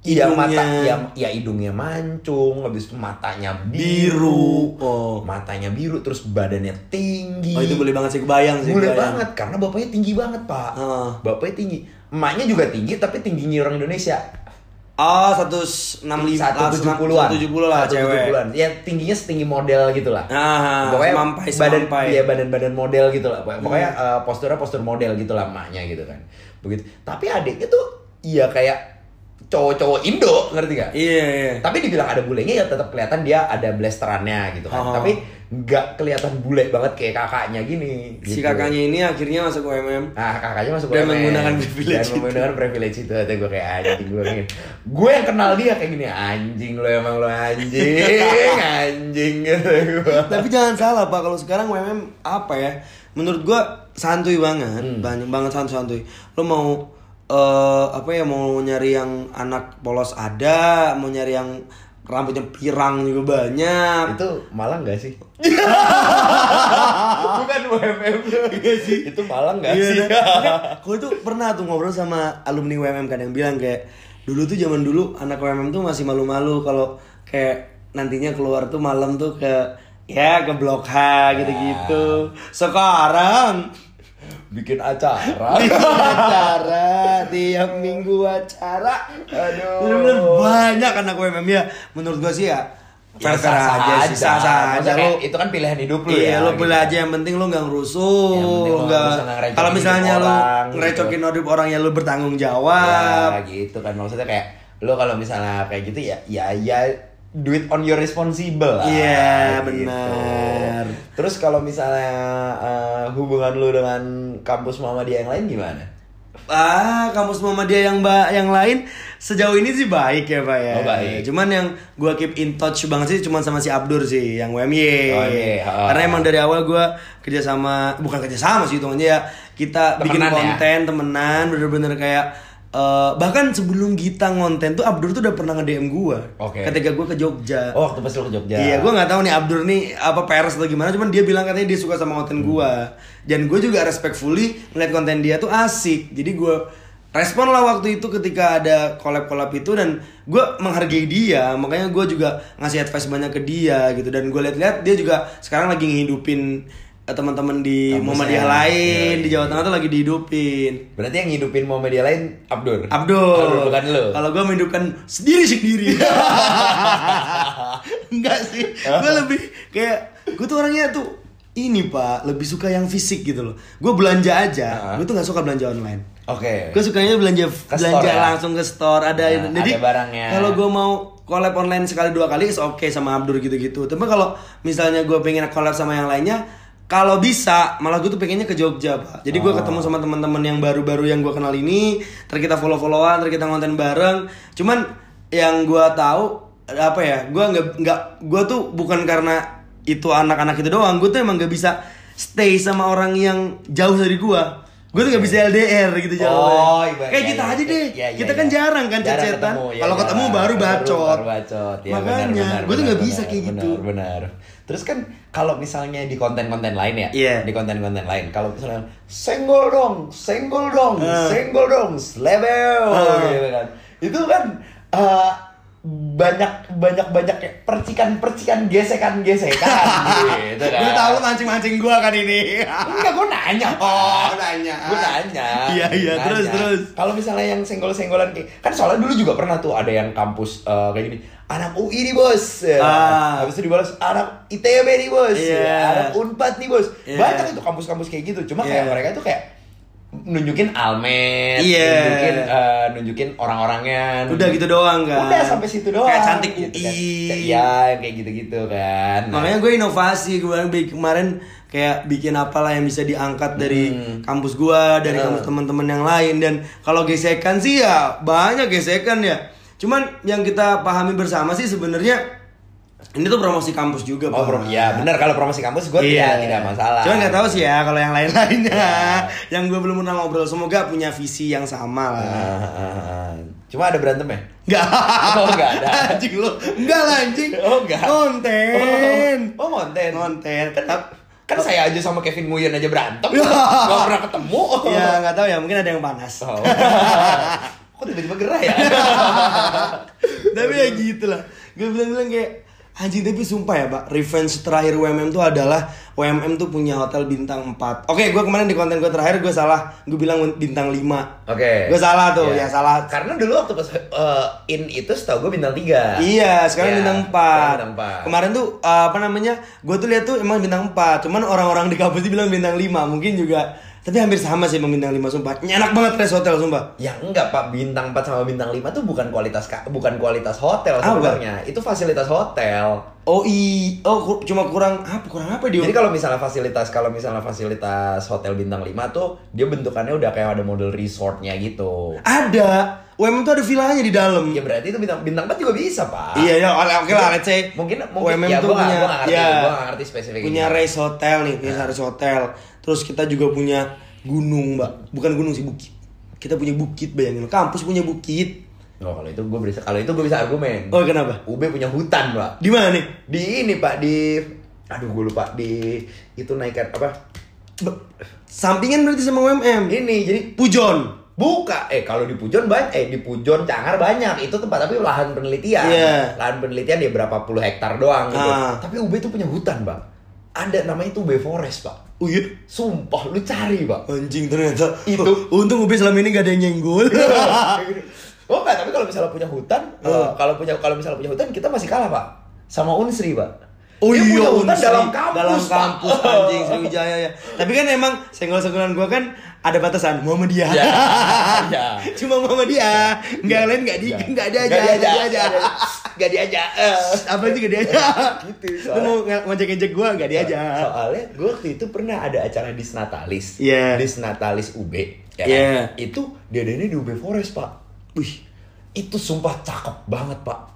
Speaker 2: Iya
Speaker 3: Hidungnya-
Speaker 2: mata ya, ya hidungnya mancung, habis itu matanya
Speaker 3: Biru.
Speaker 2: biru,
Speaker 3: Oh.
Speaker 2: matanya biru, terus badannya tinggi.
Speaker 3: Oh itu boleh banget sih kebayang sih.
Speaker 2: Bule
Speaker 3: kebayang.
Speaker 2: Iya. banget karena bapaknya tinggi banget pak.
Speaker 3: Ah.
Speaker 2: Bapaknya tinggi, emaknya juga tinggi tapi tingginya orang Indonesia.
Speaker 3: Ah, 165
Speaker 2: satu tujuh puluh an
Speaker 3: 170 lah cewek.
Speaker 2: ya tingginya setinggi model gitu lah
Speaker 3: Ah, semampai,
Speaker 2: badan
Speaker 3: semampai.
Speaker 2: ya badan badan model gitu lah pokoknya pokoknya,
Speaker 3: Hmm.
Speaker 2: eh, posturnya postur model gitu lah emaknya gitu kan begitu tapi adiknya tuh iya kayak cowok-cowok Indo ngerti gak
Speaker 3: Iya, iya.
Speaker 2: tapi dibilang ada bulenya ya tetap kelihatan dia ada blasterannya gitu kan
Speaker 3: Oh.
Speaker 2: tapi nggak kelihatan bule banget kayak kakaknya gini
Speaker 3: Si
Speaker 2: gitu.
Speaker 3: kakaknya ini akhirnya masuk UMM.
Speaker 2: Nah, kakaknya masuk UMN.
Speaker 3: Dan menggunakan privilege
Speaker 2: Dan
Speaker 3: itu.
Speaker 2: menggunakan privilege itu. Kata gue kayak anjing gue kayak gini. Gue yang kenal dia kayak gini, anjing lo emang lo
Speaker 3: [laughs]
Speaker 2: anjing, anjing gitu gue.
Speaker 3: Tapi jangan salah pak, kalau sekarang UMM apa ya? Menurut gua santuy banget,
Speaker 2: Hmm.
Speaker 3: banyak banget santuy-santuy. Lo mau eh, apa ya? Mau nyari yang anak polos ada, mau nyari yang rambutnya pirang juga banyak.
Speaker 2: Itu Malang gak
Speaker 3: [laughs]
Speaker 2: sih? Bukan UMM Iya sih. Itu Malang gak
Speaker 3: Iya,
Speaker 2: [laughs] sih?
Speaker 3: nah. Gue tuh pernah tuh ngobrol sama alumni UMM kan yang bilang kayak dulu tuh zaman dulu anak UMM tuh masih malu-malu kalau kayak nantinya keluar tuh malam tuh ke ya ke Blok H gitu-gitu.
Speaker 2: Ah.
Speaker 3: Sekarang [laughs]
Speaker 2: Bikin acara.
Speaker 3: Iya. acara tiap minggu acara.
Speaker 2: Aduh.
Speaker 3: Bener-bener banyak anak UMM ya. Menurut gua sih ya
Speaker 2: Ya,
Speaker 3: fair-fair aja sih, sah-sah aja
Speaker 2: Maksudnya
Speaker 3: lo.
Speaker 2: kayak, itu kan pilihan hidup lu
Speaker 3: Iya,
Speaker 2: ya.
Speaker 3: lo
Speaker 2: gitu.
Speaker 3: boleh aja yang penting lo nggak
Speaker 2: Yang penting
Speaker 3: ngerusuh,
Speaker 2: lo nggak
Speaker 3: nggak.
Speaker 2: ngerusuh, nggak ngerecokin
Speaker 3: Kalau misalnya
Speaker 2: hidup
Speaker 3: lo
Speaker 2: orang, gitu.
Speaker 3: ngerecokin hidup orang ya lo bertanggung
Speaker 2: Ya,
Speaker 3: jawab.
Speaker 2: gitu kan maksudnya kayak lo kalau misalnya kayak gitu ya ya ya do it on your responsible lah, gitu.
Speaker 3: Iya, benar.
Speaker 2: terus kalau misalnya eh, hubungan lo dengan kampus mama dia yang lain gimana
Speaker 3: Ah, kampus mama dia yang mbak yang lain sejauh ini sih baik ya pak ya.
Speaker 2: Oh, baik.
Speaker 3: Cuman yang gua keep in touch banget sih cuman sama si Abdur sih yang UMY.
Speaker 2: Oh, iya. Ah.
Speaker 3: Karena emang dari awal gua kerja sama bukan kerja sama sih hitungannya ya kita bikin
Speaker 2: Temenan ya?
Speaker 3: konten temenan bener-bener kayak eh, bahkan sebelum kita ngonten tuh Abdur tuh udah pernah nge DM gua.
Speaker 2: Oke.
Speaker 3: Ketika gua ke Jogja.
Speaker 2: oh waktu pas lo ke Jogja
Speaker 3: Iya, gue nggak tahu nih Abdur nih apa pers atau gimana, cuman dia bilang katanya dia suka sama
Speaker 2: Hmm.
Speaker 3: konten gue. Dan gue juga respectfully ngeliat konten dia tuh asik. Jadi gue respon lah waktu itu ketika ada collab-collab itu dan gue menghargai dia, makanya gue juga ngasih advice banyak ke dia gitu. Dan gue liat-liat dia juga sekarang lagi ngehidupin eh, teman-teman di
Speaker 2: Kampusnya.
Speaker 3: Muhammadiyah lain
Speaker 2: Iya,
Speaker 3: di Jawa Tengah tuh lagi dihidupin.
Speaker 2: berarti yang ngidupin mama dia lain Abdur
Speaker 3: Abdul.
Speaker 2: bukan lo
Speaker 3: Kalau gue menghidupkan sendiri sendiri. [laughs] Enggak sih. Gue lebih kayak gue tuh orangnya tuh ini pak lebih suka yang fisik gitu loh. Gue belanja aja. Gue tuh nggak suka belanja online.
Speaker 2: [laughs] oke
Speaker 3: Gue sukanya belanja
Speaker 2: Ke
Speaker 3: belanja
Speaker 2: store ya?
Speaker 3: langsung ke store ada
Speaker 2: Nah,
Speaker 3: jadi
Speaker 2: ada barangnya.
Speaker 3: Kalau gue mau collab online sekali dua kali is oke sama Abdur gitu-gitu. Tapi kalau misalnya gue pengen collab sama yang lainnya kalau bisa, malah gue tuh pengennya ke Jogja, Pak. Jadi
Speaker 2: Oh.
Speaker 3: gue ketemu sama teman-teman yang baru-baru yang gue kenal ini, ter kita follow-followan, ter kita ngonten bareng. Cuman yang gue tahu apa ya? Gue nggak nggak gue tuh bukan karena itu anak-anak itu doang. Gue tuh emang gak bisa stay sama orang yang jauh dari gue. Gue tuh gak bisa LDR gitu jauh.
Speaker 2: Oh, ibarat-
Speaker 3: Kayak
Speaker 2: ya,
Speaker 3: kita
Speaker 2: ya,
Speaker 3: aja deh.
Speaker 2: ya, ya,
Speaker 3: kita
Speaker 2: ya.
Speaker 3: kan jarang kan
Speaker 2: Jarang
Speaker 3: cecetan.
Speaker 2: ketemu, ya,
Speaker 3: Kalau
Speaker 2: jarang.
Speaker 3: ketemu baru bacot.
Speaker 2: Baru bacot. Ya,
Speaker 3: Makanya gue tuh nggak bisa kayak gitu.
Speaker 2: Benar, benar. Terus kan kalau misalnya di konten-konten lain ya,
Speaker 3: Iya.
Speaker 2: di konten-konten lain kalau misalnya senggol dong, senggol dong, senggol dong, slebel
Speaker 3: Ah.
Speaker 2: gitu kan. Itu kan eh, banyak banyak banyak kayak percikan percikan gesekan
Speaker 3: [laughs]
Speaker 2: gesekan gitu kan
Speaker 3: Gue tahu mancing-mancing gua kan
Speaker 2: [laughs]
Speaker 3: ini.
Speaker 2: enggak gue nanya
Speaker 3: [laughs] Oh, nanya.
Speaker 2: gue nanya
Speaker 3: Iya, iya,
Speaker 2: Nanya.
Speaker 3: terus, terus.
Speaker 2: kalau misalnya yang senggol senggolan kayak kan soalnya dulu juga pernah tuh ada yang kampus eh, kayak gini anak UI nih bos Ya.
Speaker 3: Ah.
Speaker 2: habis itu dibalas anak ITB nih bos Ya,
Speaker 3: Iya.
Speaker 2: anak unpad nih bos
Speaker 3: Iya.
Speaker 2: banyak itu kampus-kampus kayak gitu cuma kayak
Speaker 3: Iya.
Speaker 2: mereka itu kayak nunjukin almet
Speaker 3: Iya.
Speaker 2: nunjukin eh, nunjukin orang-orangnya
Speaker 3: Udah
Speaker 2: nunjukin-
Speaker 3: gitu doang kan.
Speaker 2: Udah sampai situ doang.
Speaker 3: Kayak cantik UI.
Speaker 2: gitu kan. Iya, yang kayak gitu-gitu kan. Nah,
Speaker 3: Makanya gue inovasi gue bi- kemarin kayak bikin apalah yang bisa diangkat dari kampus gue, dari
Speaker 2: Hmm.
Speaker 3: kampus teman-teman yang lain dan kalau gesekan sih ya banyak gesekan ya. Cuman yang kita pahami bersama sih sebenarnya ini tuh promosi kampus juga.
Speaker 2: oh,
Speaker 3: Pak.
Speaker 2: prom- ya benar kalau promosi kampus gue
Speaker 3: Ah. Iya.
Speaker 2: tidak tidak masalah.
Speaker 3: Cuman nggak tahu sih ya kalau yang lain-lainnya, [laughs] yang gue belum pernah ngobrol semoga punya visi yang sama lah.
Speaker 2: Ah, ah, ah. Cuma ada berantem ya?
Speaker 3: Enggak.
Speaker 2: Oh, nggak ada.
Speaker 3: [laughs] Anjing lu. Enggak lah anjing.
Speaker 2: Oh, nggak.
Speaker 3: Konten.
Speaker 2: Oh, oh, konten.
Speaker 3: Konten.
Speaker 2: Kan, kan saya aja sama Kevin Nguyen aja berantem.
Speaker 3: Iya.
Speaker 2: Gak pernah ketemu.
Speaker 3: Ya nggak tahu ya mungkin ada yang panas.
Speaker 2: Oh. Kok tiba-tiba gerah ya?
Speaker 3: tapi ya gitu lah. Gue bilang-bilang kayak anjing tapi sumpah ya pak revenge terakhir UMM tuh adalah UMM tuh punya hotel bintang 4 oke gue kemarin di konten gue terakhir gue salah gue bilang bintang 5
Speaker 2: Oke. Iya.
Speaker 3: gue salah tuh ya salah
Speaker 2: Karena dulu waktu pas eh, in itu setahu gue bintang 3.
Speaker 3: Iya, sekarang bintang 4.
Speaker 2: Bintang 4.
Speaker 3: Kemarin tuh uh, apa namanya? Gue tuh lihat tuh emang bintang 4, cuman orang-orang di kampus tuh bilang bintang 5, mungkin juga tapi hampir sama sih emang bintang 5 sumpah. Nyenak banget Res Hotel sumpah.
Speaker 2: Ya enggak Pak, bintang 4 sama bintang 5 tuh bukan kualitas ka- bukan kualitas hotel
Speaker 3: Apa?
Speaker 2: sebenarnya. Itu fasilitas hotel.
Speaker 3: Oh i, oh ku- cuma kurang apa kurang apa dia?
Speaker 2: Jadi kalau misalnya fasilitas kalau misalnya fasilitas hotel bintang 5 tuh dia bentukannya udah kayak ada model resortnya gitu.
Speaker 3: ada UMM tuh ada villanya di dalam.
Speaker 2: Ya berarti itu bintang bintang 4 juga bisa, Pak.
Speaker 3: Iya, iya, oke oke lah, let's say.
Speaker 2: Mungkin mungkin
Speaker 3: UMM
Speaker 2: ya
Speaker 3: tuh
Speaker 2: gua nggak-
Speaker 3: punya
Speaker 2: gua nggak ngerti,
Speaker 3: ya,
Speaker 2: gua nggak ngerti Iya. spesifiknya.
Speaker 3: punya race hotel nih, punya race hotel. Terus kita juga punya gunung, Mbak. Bukan gunung sih, bukit. Kita punya bukit, bayangin. Kampus punya bukit.
Speaker 2: Oh, kalau itu gue bisa kalau itu gue bisa argumen.
Speaker 3: Oh, kenapa?
Speaker 2: UB punya hutan, Pak.
Speaker 3: Di mana nih?
Speaker 2: Di ini, Pak, di aduh gue lupa di itu naik ke- apa?
Speaker 3: Be- Sampingan berarti sama UMM.
Speaker 2: Ini jadi
Speaker 3: Pujon.
Speaker 2: Buka, eh kalau di Pujon banyak, eh di Pujon Cangar banyak. Itu tempat tapi lahan penelitian.
Speaker 3: Iya.
Speaker 2: Lahan penelitian dia berapa puluh hektar doang gitu.
Speaker 3: Ah.
Speaker 2: Tapi UB itu punya hutan, Bang. Ada namanya itu UB Forest, Pak.
Speaker 3: Oh iya.
Speaker 2: Sumpah lu cari,
Speaker 3: [laughs]
Speaker 2: Pak.
Speaker 3: Anjing ternyata
Speaker 2: Itu. Iya.
Speaker 3: Oh, Untung Ube selama ini gak ada yang nyenggol
Speaker 2: oh enggak, tapi kalau misalnya punya hutan, eh, kalau punya kalau misalnya punya hutan kita masih kalah, Pak. Sama Unsri, Pak.
Speaker 3: [laughs] Oh
Speaker 2: Dia
Speaker 3: iya
Speaker 2: punya hutan
Speaker 3: Unsri.
Speaker 2: dalam kampus,
Speaker 3: Dalam
Speaker 2: Pak.
Speaker 3: kampus anjing Sriwijaya ya Tapi kan emang senggol-senggolan gua kan ada batasan Muhammadiyah
Speaker 2: [laughs] Ya. Ya.
Speaker 3: [laughs] Cuma Muhammadiyah Nggak lain nggak di
Speaker 2: Ya.
Speaker 3: nggak ada aja
Speaker 2: Nggak
Speaker 3: nggak
Speaker 2: diajak,
Speaker 3: ada aja
Speaker 2: Nggak diajak. [laughs] Eh.
Speaker 3: Apa sih gak diajak
Speaker 2: Gitu,
Speaker 3: Lu
Speaker 2: soalnya- Iya.
Speaker 3: mau nge- ngojek-ngejek gua nggak diajak
Speaker 2: Soalnya gue waktu itu pernah ada acara di Senatalis.
Speaker 3: Iya.
Speaker 2: Di Senatalis UB. ya kan?
Speaker 3: Iya.
Speaker 2: Itu diadainnya di UB Forest, Pak.
Speaker 3: Wih
Speaker 2: Itu sumpah cakep banget, Pak.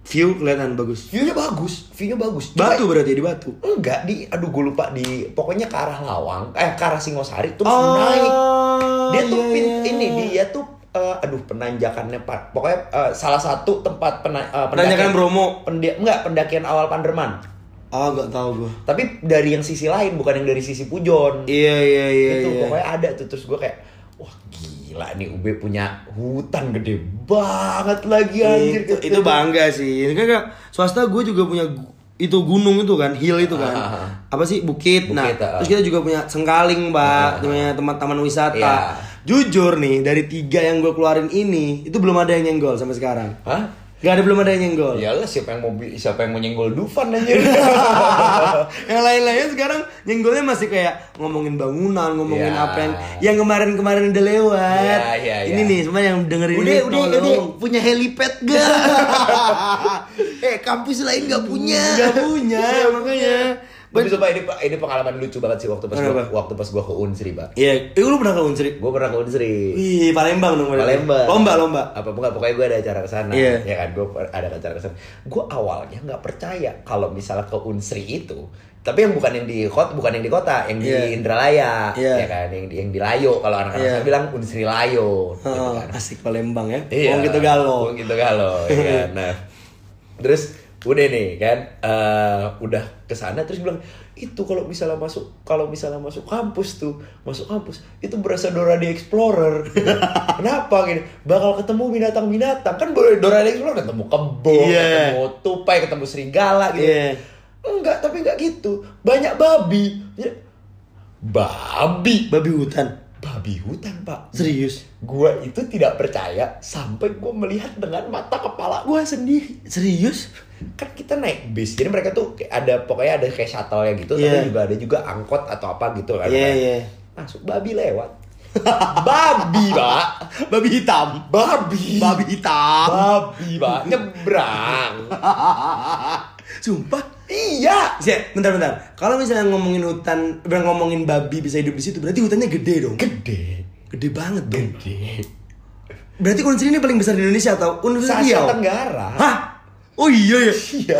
Speaker 3: View kelihatan bagus
Speaker 2: View-nya bagus, view-nya bagus. Cuma-
Speaker 3: Batu berarti di batu
Speaker 2: Enggak, di aduh gue lupa di pokoknya ke arah Lawang, eh ke arah Singosari terus
Speaker 3: Oh,
Speaker 2: naik. Dia tuh
Speaker 3: iya,
Speaker 2: pin-
Speaker 3: iya.
Speaker 2: ini dia tuh eh, aduh penanjakannya Pak. Pokoknya eh, salah satu tempat pena, eh,
Speaker 3: Penanjakan Bromo.
Speaker 2: Pendi- enggak, pendakian awal Panderman.
Speaker 3: Ah nggak tahu gua
Speaker 2: Tapi dari yang sisi lain bukan yang dari sisi Pujon.
Speaker 3: Iya iya iya
Speaker 2: itu
Speaker 3: iya.
Speaker 2: pokoknya ada tuh terus gue kayak wah gila nih UB punya hutan gede banget lagi anjir
Speaker 3: itu, itu bangga sih kan kan swasta gue juga punya gu- itu gunung itu kan hill itu kan
Speaker 2: Ah.
Speaker 3: apa sih bukit, nah
Speaker 2: Bukit, ah.
Speaker 3: terus kita juga punya sengkaling mbak punya tempat taman wisata
Speaker 2: Iya.
Speaker 3: jujur nih dari tiga yang gue keluarin ini itu belum ada yang nyenggol sampai sekarang
Speaker 2: Hah?
Speaker 3: Gak ada belum ada yang nyenggol
Speaker 2: Iyalah Iya siapa yang mau bi- siapa yang mau nyenggol Dufan [laughs] anjir.
Speaker 3: yang lain-lainnya sekarang nyenggolnya masih kayak ngomongin bangunan, ngomongin
Speaker 2: Ya.
Speaker 3: apa yang yang kemarin-kemarin udah lewat.
Speaker 2: Ya, ya,
Speaker 3: ini
Speaker 2: ya.
Speaker 3: nih semua yang dengerin
Speaker 2: Udah,
Speaker 3: ini.
Speaker 2: udah,
Speaker 3: tolong.
Speaker 2: udah.
Speaker 1: Punya helipad
Speaker 3: [laughs]
Speaker 1: gak? eh kampus lain gak punya.
Speaker 3: Gak punya makanya.
Speaker 2: Tapi sumpah ini ini pengalaman lucu banget sih waktu pas gua,
Speaker 3: Kenapa?
Speaker 2: waktu pas gua ke Unsri, Pak.
Speaker 3: Iya, eh, lu pernah ke Unsri?
Speaker 2: Gua pernah ke Unsri.
Speaker 3: Wih, Palembang dong berarti.
Speaker 2: Palembang.
Speaker 3: Lomba, lomba.
Speaker 2: Apa enggak pokoknya gue ada acara ke sana.
Speaker 3: Iya.
Speaker 2: Ya kan gue ada acara ke sana. Gue awalnya nggak percaya kalau misalnya ke Unsri itu tapi yang bukan yang di kota, bukan yang di kota, yang di
Speaker 3: Iya.
Speaker 2: Indralaya,
Speaker 3: Iya.
Speaker 2: ya kan, yang di, yang di Layo kalau anak-anak
Speaker 3: Iya.
Speaker 2: saya bilang Unsri Layo, gitu
Speaker 3: Oh,
Speaker 2: kan. Iya.
Speaker 3: asik Palembang ya. Iya. Wong gitu galau. [laughs]
Speaker 2: Wong gitu galau, ya kan. Nah, iya terus udah nih kan eh, udah ke sana terus bilang itu kalau misalnya masuk kalau misalnya masuk kampus tuh masuk kampus itu berasa Dora the
Speaker 3: [laughs]
Speaker 2: Explorer kenapa gini bakal ketemu binatang-binatang kan boleh Dora the Explorer ketemu kebo
Speaker 3: Iya.
Speaker 2: ketemu tupai ketemu serigala gitu
Speaker 3: Iya.
Speaker 2: enggak tapi enggak gitu banyak babi Ya, babi
Speaker 3: Babi hutan.
Speaker 2: babi hutan pak
Speaker 3: Serius.
Speaker 2: gua itu tidak percaya sampai gua melihat dengan mata kepala gua sendiri
Speaker 3: Serius?
Speaker 2: kan kita naik bis jadi mereka tuh kayak ada pokoknya ada kayak shuttle ya gitu
Speaker 3: Iya.
Speaker 2: tapi juga ada juga angkot atau apa gitu kan
Speaker 3: Iya, iya.
Speaker 2: masuk babi lewat [laughs] babi pak
Speaker 3: Babi hitam.
Speaker 2: babi
Speaker 3: Babi hitam.
Speaker 2: babi pak nyebrang
Speaker 3: Sumpah.
Speaker 2: iya
Speaker 3: Zek, bentar-bentar. Kalau misalnya ngomongin hutan, ber- ngomongin babi bisa hidup di situ, berarti hutannya gede dong.
Speaker 2: gede
Speaker 3: Gede banget dong.
Speaker 2: gede
Speaker 3: Berarti unsur ini paling besar di Indonesia atau unsur
Speaker 2: Asia
Speaker 3: Riau?
Speaker 2: Tenggara
Speaker 3: Hah? Oh iya ya.
Speaker 2: iya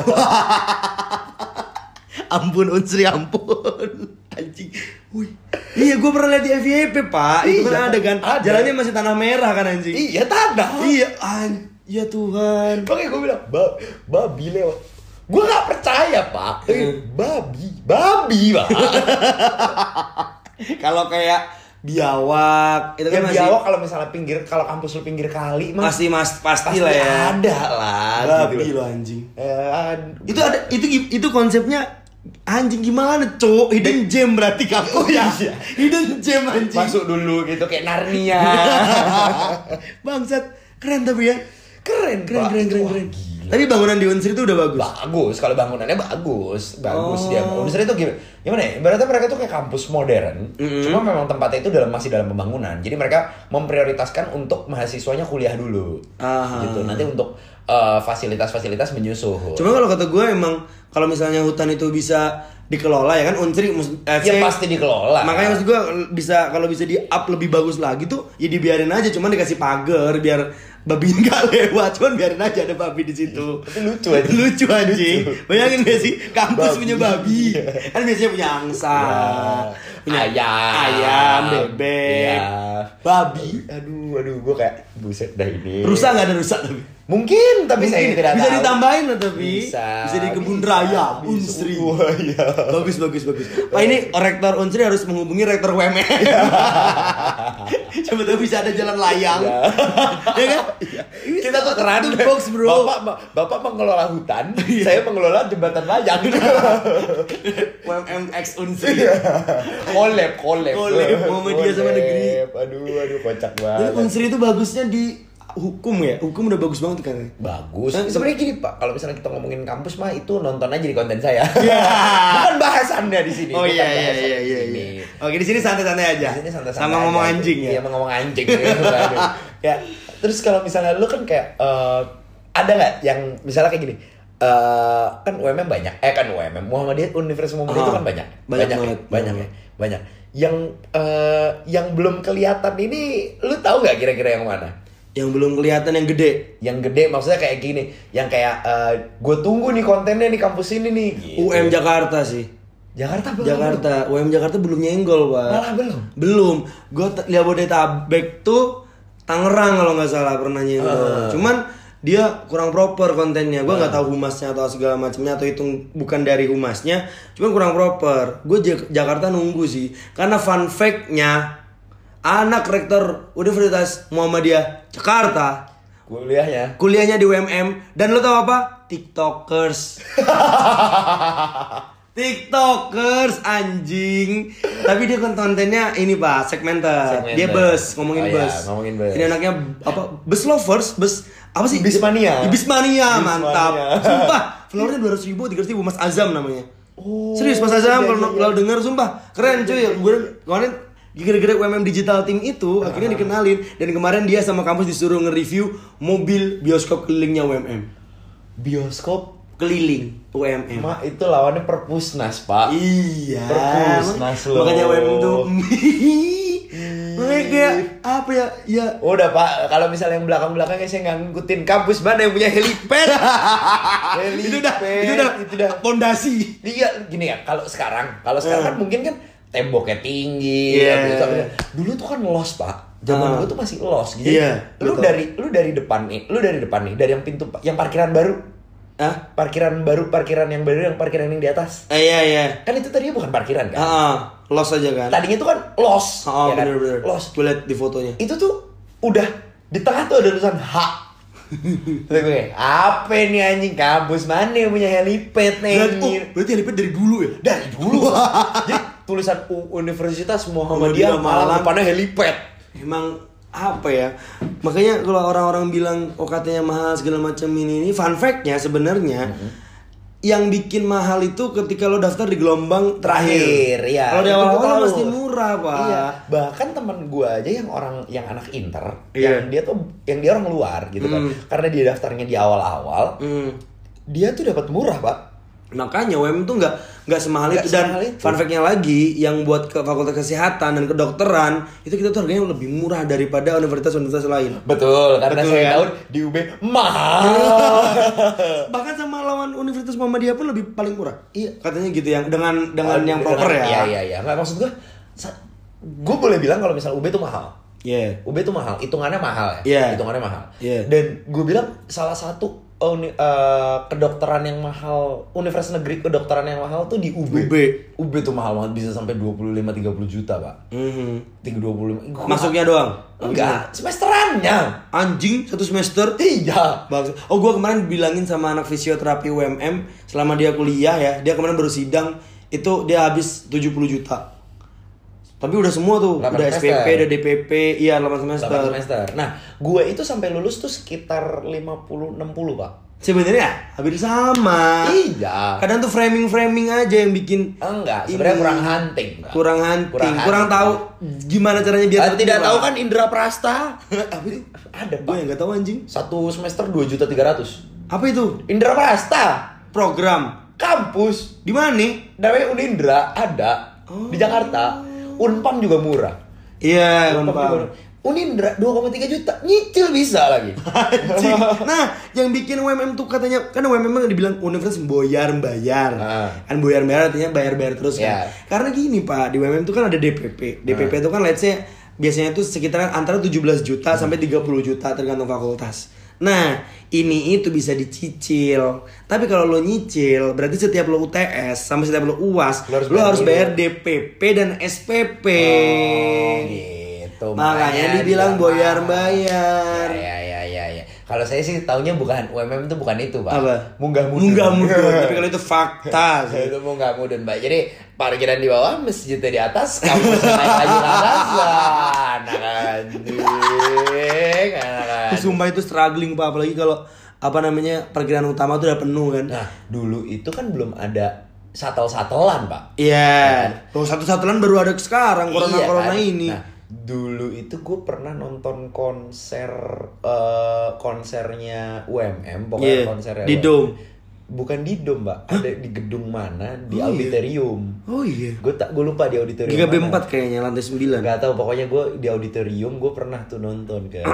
Speaker 3: ampun Unsri ampun. Anjing. Wih. Iya, gue pernah lihat di FYP, Pak. Itu
Speaker 2: Iya,
Speaker 3: kan ada kan.
Speaker 2: ada.
Speaker 3: Jalannya masih tanah merah kan anjing.
Speaker 2: iya tanah
Speaker 3: Iya, an- ya Tuhan.
Speaker 2: Makanya gue bilang, "Ba- babi lewat. Gue gak percaya, Pak. Eh, babi, babi,
Speaker 3: [laughs]
Speaker 2: Pak.
Speaker 3: Kalau kayak biawak, itu
Speaker 2: ya
Speaker 3: kan masih
Speaker 2: biawak kalau misalnya pinggir, kalau kampus lu pinggir kali, mah
Speaker 3: pasti mas pasti lah ya.
Speaker 2: ada lah.
Speaker 3: Babi
Speaker 2: gitu
Speaker 3: lo anjing.
Speaker 2: Eh, ad-
Speaker 3: Itu ada itu itu konsepnya anjing gimana, Cuk? Hidden gem berarti kamu ya.
Speaker 2: Eh. iya.
Speaker 3: Hidden gem anjing. Iya.
Speaker 2: masuk dulu gitu kayak Narnia.
Speaker 3: [laughs] Bangsat, keren tapi ya. Keren, keren,
Speaker 2: Pak.
Speaker 3: keren, keren,
Speaker 2: Wah,
Speaker 3: keren.
Speaker 2: gila.
Speaker 3: Tapi bangunan di Unsri itu udah bagus.
Speaker 2: bagus, kalau bangunannya bagus, bagus
Speaker 3: Oh.
Speaker 2: dia. Unsur itu gimana? Gimana ya? Ibaratnya mereka tuh kayak kampus modern.
Speaker 3: Mm-hmm.
Speaker 2: Cuma memang tempatnya itu dalam masih dalam pembangunan. Jadi mereka memprioritaskan untuk mahasiswanya kuliah dulu.
Speaker 3: Aha.
Speaker 2: Gitu. Nanti untuk eh, fasilitas-fasilitas menyusul.
Speaker 3: Cuma kalau kata gue emang kalau misalnya hutan itu bisa dikelola ya kan Unsri mus- eh,
Speaker 2: Ya
Speaker 3: saya-
Speaker 2: pasti dikelola.
Speaker 3: Makanya maksud gue bisa kalau bisa di up lebih bagus lagi tuh ya dibiarin aja cuman dikasih pagar biar babi [laughs] nggak lewat cuman biarin aja ada babi di situ.
Speaker 2: Tapi lucu aja.
Speaker 3: Lucu anjing. Bayangin gak sih
Speaker 2: Babi.
Speaker 3: kampus
Speaker 2: Ya.
Speaker 3: punya babi. Kan biasanya punya angsa. Punya
Speaker 2: Ah, ayam,
Speaker 3: Ayam, bebek.
Speaker 2: Iya.
Speaker 3: Babi.
Speaker 2: Aduh, aduh, gue kayak buset dah ini.
Speaker 3: Rusak nggak ada rusak tapi.
Speaker 2: Mungkin, tapi saya
Speaker 3: Mungkin.
Speaker 2: tidak
Speaker 3: bisa
Speaker 2: tahu.
Speaker 3: ditambahin lah tapi
Speaker 2: Bisa.
Speaker 3: bisa di kebun
Speaker 2: Bisa.
Speaker 3: raya
Speaker 2: Bisa.
Speaker 3: unsri
Speaker 2: Wah, iya.
Speaker 3: bagus bagus bagus pak ini rektor unsri harus menghubungi rektor
Speaker 2: [laughs]
Speaker 3: WMN coba tuh bisa ada jalan layang
Speaker 2: Iya.
Speaker 3: ya kan
Speaker 2: Kita tuh keren.
Speaker 3: Itu box bro Iya.
Speaker 2: Bapak, ma- bapak mengelola
Speaker 3: [laughs]
Speaker 2: hutan, saya mengelola jembatan layang.
Speaker 3: WMX unsri
Speaker 2: Iya. kolab, kolab.
Speaker 3: Collab, Muhammadiyah sama negeri.
Speaker 2: Aduh, aduh, kocak
Speaker 3: Tapi
Speaker 2: banget.
Speaker 3: unsri itu bagusnya di hukum ya hukum udah bagus banget kan
Speaker 2: Bagus.
Speaker 3: Kan-
Speaker 2: Sebenarnya gini Pak, kalau misalnya kita ngomongin kampus mah itu nonton aja di konten saya.
Speaker 3: Iya.
Speaker 2: [laughs] Bukan bahasannya di sini.
Speaker 3: Oh
Speaker 2: bukan
Speaker 3: iya iya
Speaker 2: bahasan
Speaker 3: iya
Speaker 2: di
Speaker 3: iya.
Speaker 2: sini.
Speaker 3: iya. Oke di sini santai-santai aja.
Speaker 2: Biasanya santai-santai
Speaker 3: Ya, Sama
Speaker 2: aja.
Speaker 3: ngomong anjing ya.
Speaker 2: Iya, sama ngomong anjing. gitu [laughs] kan. ya, terus kalau misalnya lu kan kayak eh, ada nggak yang misalnya kayak gini, eh, kan UMM banyak, eh kan UMM Muhammadiyah Universitas Muhammadiyah itu
Speaker 3: Ah,
Speaker 2: kan banyak,
Speaker 3: banyak
Speaker 2: ya,
Speaker 3: banget. Iya.
Speaker 2: banyak ya, banyak. Yang eh, yang belum kelihatan ini, lu tahu nggak kira-kira yang mana?
Speaker 3: Yang belum kelihatan yang gede.
Speaker 2: Yang gede maksudnya kayak gini, yang kayak gue tunggu nih kontennya nih kampus ini nih. gitu.
Speaker 3: UM Jakarta sih.
Speaker 2: Jakarta belum.
Speaker 3: Jakarta, UM Jakarta belum nyenggol pak.
Speaker 2: Malah belum?
Speaker 3: Belum. Gue Jabodetabek tuh Tangerang kalau nggak salah pernah nyenggol. Cuman dia kurang proper kontennya. Gue nggak tahu humasnya atau segala macamnya atau hitung bukan dari humasnya. Cuman kurang proper. Gue Jakarta nunggu sih. Karena fun fact-nya anak rektor Universitas Muhammadiyah Jakarta
Speaker 2: Kuliahnya.
Speaker 3: kuliahnya di UMM dan lo tau apa?
Speaker 2: [laughs]
Speaker 3: Tiktokers. Tiktokers anjing. Tapi dia kan kontennya ini Pak, segmenter.
Speaker 2: Segmented.
Speaker 3: Dia bus, ngomongin
Speaker 2: Oh, iya,
Speaker 3: bus.
Speaker 2: ngomongin bus.
Speaker 3: Ini anaknya apa? Bus lovers, bus apa sih?
Speaker 2: Bismania.
Speaker 3: Bismania, mantap.
Speaker 2: Bismania. [laughs]
Speaker 3: Sumpah, floornya 200 ribu, 300 ribu Mas Azam namanya.
Speaker 2: Oh,
Speaker 3: Serius Mas Azam
Speaker 2: iya,
Speaker 3: kalau
Speaker 2: iya, iya.
Speaker 3: kalau denger sumpah keren cuy. Gue kemarin gara-gara UMM Digital Team itu akhirnya dikenalin dan kemarin dia sama kampus disuruh nge-review mobil bioskop kelilingnya UMM.
Speaker 2: Bioskop
Speaker 3: Keliling UMM.
Speaker 2: Mak itu lawannya perpusnas pak.
Speaker 3: Iya.
Speaker 2: Perpusnas lo.
Speaker 3: Makanya UMM tuh. [laughs] Makanya kayak apa ya? Ya
Speaker 2: Udah pak, kalau misalnya yang belakang-belakangnya saya nggak ngikutin kampus mana yang punya helipad.
Speaker 3: [laughs]
Speaker 2: helipad.
Speaker 3: itu udah itu udah
Speaker 2: itu udah.
Speaker 3: pondasi.
Speaker 2: Iya gini ya, kalau sekarang, kalau sekarang kan mungkin kan temboknya tinggi.
Speaker 3: Eh. Iya.
Speaker 2: habis itu apa- Dulu tuh kan los pak. Zaman
Speaker 3: Ah.
Speaker 2: gua tuh masih los. Jadi
Speaker 3: Iya,
Speaker 2: Lu
Speaker 3: betul.
Speaker 2: dari lu dari depan nih, lu dari depan nih, dari yang pintu yang parkiran baru.
Speaker 3: Hah?
Speaker 2: Parkiran baru, parkiran yang baru, yang parkiran yang di atas.
Speaker 3: Eh, iya iya.
Speaker 2: Kan itu tadinya bukan parkiran kan?
Speaker 3: Ah, ah, los aja kan.
Speaker 2: Tadinya itu kan los,
Speaker 3: Ah,
Speaker 2: ya kan?
Speaker 3: bener-bener.
Speaker 2: Los.
Speaker 3: Gue liat di fotonya.
Speaker 2: Itu tuh udah di tengah tuh ada tulisan H. Kata gue, apa nih anjing kampus mana yang punya helipad nih?
Speaker 3: Berarti, oh,
Speaker 2: anjir?"
Speaker 3: berarti helipad dari dulu ya?
Speaker 2: dari dulu. Jadi tulisan U- Universitas Muhammadiyah
Speaker 3: Muhammadiyah Malang.
Speaker 2: Malang depannya helipad.
Speaker 3: Emang apa ya? Makanya kalau orang-orang bilang OKT-nya mahal segala macam ini ini fun fact-nya sebenarnya
Speaker 2: Mm-hmm.
Speaker 3: yang bikin mahal itu ketika lo daftar di gelombang terakhir.
Speaker 2: Terakhir, ya.
Speaker 3: Kalau di
Speaker 2: Itu gua
Speaker 3: awal-awal
Speaker 2: tahu.
Speaker 3: pasti murah, Pak.
Speaker 2: Iya. Bahkan teman gue aja yang orang yang anak inter,
Speaker 3: Iya.
Speaker 2: yang dia tuh yang dia orang luar gitu kan.
Speaker 3: Hmm.
Speaker 2: Karena dia daftarnya di awal-awal,
Speaker 3: Hmm.
Speaker 2: dia tuh dapat murah, Pak.
Speaker 3: Makanya UM tuh nggak nggak semahal
Speaker 2: Nggak
Speaker 3: itu dan
Speaker 2: semahal itu.
Speaker 3: fun fact-nya lagi yang buat ke fakultas kesehatan dan kedokteran itu kita tuh harganya lebih murah daripada universitas-universitas
Speaker 2: [laughs]
Speaker 3: lain.
Speaker 2: Betul, karena
Speaker 3: Betul,
Speaker 2: saya
Speaker 3: kan?
Speaker 2: tahu di UB mahal.
Speaker 3: [laughs] Bahkan sama lawan Universitas Muhammadiyah pun lebih paling murah.
Speaker 2: Iya.
Speaker 3: Katanya gitu yang dengan dengan
Speaker 2: Oh,
Speaker 3: yang proper ya.
Speaker 2: Iya, iya, iya. Nggak, maksud gue, gue boleh bilang kalau misal UB tuh mahal.
Speaker 3: Iya.
Speaker 2: UB tuh mahal, hitungannya mahal ya.
Speaker 3: Iya.
Speaker 2: Hitungannya mahal.
Speaker 3: Iya.
Speaker 2: Dan gue bilang salah satu uni- eh, kedokteran yang mahal, universitas negeri kedokteran yang mahal tuh di UB.
Speaker 3: UB.
Speaker 2: UB tuh mahal banget bisa sampai 25 30 juta, Pak.
Speaker 3: Mhm.
Speaker 2: 325. Gua-
Speaker 3: Masuknya doang.
Speaker 2: Enggak, semesterannya.
Speaker 3: Anjing satu semester.
Speaker 2: Iya.
Speaker 3: Bangsa. Oh gua kemarin bilangin sama anak fisioterapi UMM selama dia kuliah ya, dia kemarin baru sidang itu dia habis 70 juta. Tapi udah semua tuh,
Speaker 2: Delapan
Speaker 3: udah
Speaker 2: semester.
Speaker 3: SPP, udah DPP, iya 8 semester.
Speaker 2: 8 semester. Nah, gue itu sampai lulus tuh sekitar 50 60, Pak.
Speaker 3: Sebenarnya ya, hampir sama.
Speaker 2: Iya.
Speaker 3: Kadang tuh framing-framing aja yang bikin
Speaker 2: Enggak,
Speaker 3: Ini-
Speaker 2: sebenarnya kurang hunting. Pak.
Speaker 3: kurang hunting, kurang,
Speaker 2: hunting.
Speaker 3: tahu gimana caranya biar
Speaker 2: Ah, tidak
Speaker 3: tertiba.
Speaker 2: tahu kan Indra Prasta?
Speaker 3: [laughs] apa itu?
Speaker 2: Ada,
Speaker 3: Gue
Speaker 2: Pak.
Speaker 3: yang gak Oh, ya, tahu anjing.
Speaker 2: Satu semester 2 juta 300.
Speaker 3: Apa itu?
Speaker 2: Indra Prasta
Speaker 3: Program
Speaker 2: kampus
Speaker 3: di mana nih?
Speaker 2: namanya Unindra ada
Speaker 3: Oh.
Speaker 2: di Jakarta Unpam juga murah
Speaker 3: Iya,
Speaker 2: Unpam juga
Speaker 3: Unpam.
Speaker 2: murah. Unindra 2,3 juta nyicil bisa lagi
Speaker 3: [laughs] Anjing. nah, yang bikin UMM tuh katanya kan UMM kan dibilang universitas boyar bayar.
Speaker 2: Ah.
Speaker 3: Kan boyar bayar artinya bayar-bayar terus
Speaker 2: Iya. Ah.
Speaker 3: kan. Karena gini, Pak, di UMM tuh kan ada DPP. DPP itu kan let's say biasanya tuh sekitar antara 17 juta sampai 30 juta tergantung fakultas. Nah, ini itu bisa dicicil. Tapi kalau lo nyicil, berarti setiap lo UTS sama setiap lo UAS,
Speaker 2: Lo harus
Speaker 3: lo
Speaker 2: bayar
Speaker 3: harus
Speaker 2: dulu.
Speaker 3: bayar DPP dan SPP.
Speaker 2: Oh, gitu
Speaker 3: Makanya dibilang boyar-bayar.
Speaker 2: ya ya ya ya kalau saya sih taunya bukan UMM itu bukan itu pak
Speaker 3: apa?
Speaker 2: munggah mudun
Speaker 3: Munggah
Speaker 2: [laughs]
Speaker 3: mudun. Tapi kalau itu fakta sih.
Speaker 2: itu munggah mudun pak jadi parkiran di bawah masjidnya di atas kampus naik lagi ke atas Wah, anak anjing anak
Speaker 3: Tapi
Speaker 2: anjing
Speaker 3: sumpah itu struggling pak apalagi kalau apa namanya perkiraan utama tuh udah penuh kan.
Speaker 2: Nah, dulu itu kan belum ada satel-satelan, Pak.
Speaker 3: Iya. Tuh satu-satuan baru ada sekarang corona corona
Speaker 2: Iya, kan?
Speaker 3: ini.
Speaker 2: Nah, dulu itu gue pernah nonton konser eh, konsernya UMM, pokoknya
Speaker 3: Iya,
Speaker 2: konsernya
Speaker 3: di
Speaker 2: UMM.
Speaker 3: Dome.
Speaker 2: Bukan di Dome, Mbak. Ada di gedung mana? Di
Speaker 3: Iya.
Speaker 2: auditorium.
Speaker 3: Oh iya.
Speaker 2: Gue tak gue lupa di auditorium.
Speaker 3: Giga
Speaker 2: mana.
Speaker 3: B4 kayaknya lantai 9
Speaker 2: Gak tau, pokoknya gue di auditorium gue pernah tuh nonton
Speaker 3: [clears throat]
Speaker 2: kan.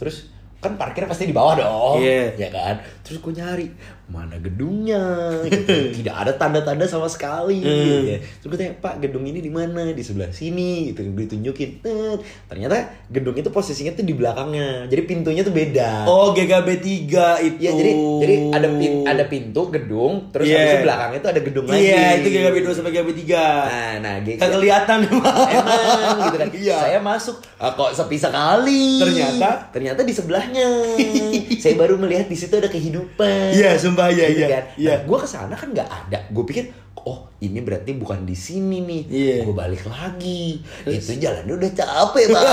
Speaker 2: Terus kan parkir pasti di bawah dong, ya
Speaker 3: Iya.
Speaker 2: kan? Terus gue nyari mana gedungnya,
Speaker 3: [clears throat]
Speaker 2: gitu. tidak ada tanda-tanda sama sekali.
Speaker 3: Hmm.
Speaker 2: gitu ya. Terus gue tanya Pak gedung ini di mana? Di sebelah sini, gitu. Gue tunjukin. Tet. Ternyata gedung itu posisinya tuh di belakangnya, jadi pintunya tuh beda.
Speaker 3: Oh GKB 3 itu.
Speaker 2: Ya jadi jadi ada pin- ada pintu gedung, terus
Speaker 3: Iya.
Speaker 2: habis itu belakangnya tuh ada gedung lagi.
Speaker 3: Iya itu GKB 2 sampai GKB 3.
Speaker 2: Nah, nah, gitu.
Speaker 3: Gak kelihatan
Speaker 2: Emang gitu kan.
Speaker 3: Iya.
Speaker 2: Saya masuk ah, kok sepi sekali.
Speaker 3: Ternyata?
Speaker 2: ternyata di sebelahnya. saya baru melihat di situ ada kehidupan.
Speaker 3: Iya sumpah iya
Speaker 2: Gitu
Speaker 3: iya.
Speaker 2: kan.
Speaker 3: Iya.
Speaker 2: Nah, gua kesana kan nggak ada. Gue pikir oh ini berarti bukan di sini nih.
Speaker 3: Iya.
Speaker 2: Gue balik lagi. Itu jalannya udah capek pak.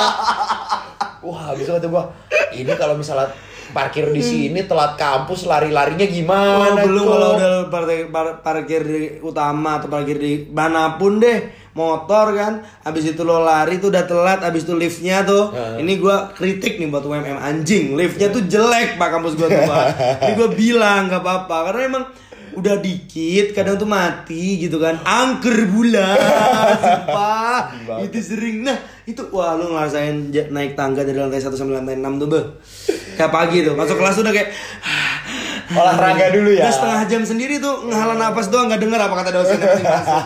Speaker 2: [laughs] Wah, habis itu kata gua, ini kalau misalnya parkir di sini telat kampus lari-larinya
Speaker 3: Oh,
Speaker 2: gimana?
Speaker 3: belum
Speaker 2: Cok?
Speaker 3: kalau udah partai- par- parkir di utama atau parkir di manapun deh motor kan habis itu lo lari tuh udah telat habis itu liftnya tuh ini gua kritik nih buat UMM anjing liftnya tuh jelek pak kampus gua tuh Pak. ini gua bilang nggak apa-apa karena emang udah dikit kadang tuh mati gitu kan angker bulan [laughs] sumpah itu sering nah itu wah lu ngerasain ja- naik tangga dari lantai 1 sampai lantai 6 tuh be kayak pagi tuh masuk kelas tuh udah kayak
Speaker 2: olahraga dulu ya.
Speaker 3: Udah setengah jam sendiri tuh ngehala napas doang nggak denger apa kata dosen. yang
Speaker 2: Iya.
Speaker 3: penting masuk.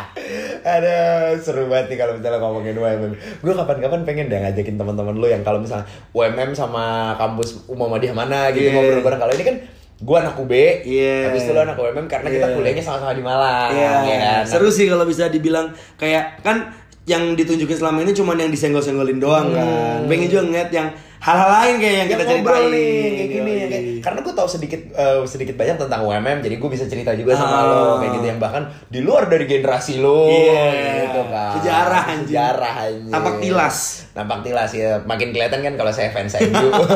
Speaker 2: [laughs] Ada seru banget nih kalau misalnya ngomongin UMM. Gue kapan-kapan pengen deh ngajakin teman-teman lu yang kalau misalnya UMM sama kampus Muhammadiyah mana gitu
Speaker 3: Iya.
Speaker 2: ngobrol bareng. Kalau ini kan Gua anak UB,
Speaker 3: Iya.
Speaker 2: habis itu lo anak UMM karena kita
Speaker 3: Iya.
Speaker 2: kuliahnya sama-sama di Malang.
Speaker 3: Iya,
Speaker 2: ya kan?
Speaker 3: seru sih kalau bisa dibilang kayak kan yang ditunjukin selama ini cuman yang disenggol-senggolin doang kan. Pengen juga ngeliat yang hal-hal lain kayak yang,
Speaker 2: Iya. yang
Speaker 3: kita
Speaker 2: ngobrol
Speaker 3: ceritain.
Speaker 2: nih kayak gini
Speaker 3: Yoi.
Speaker 2: yang kayak, karena gue tahu sedikit eh, sedikit banyak tentang UMM jadi gue bisa cerita juga sama
Speaker 3: Ah.
Speaker 2: lo kayak gitu yang bahkan di luar dari generasi lo
Speaker 3: Iya.
Speaker 2: gitu kan
Speaker 3: Sejarah, anjing.
Speaker 2: sejarah anjing
Speaker 3: Tampak tilas.
Speaker 2: tampak tilas ya makin kelihatan kan kalau saya fans saya
Speaker 3: [laughs]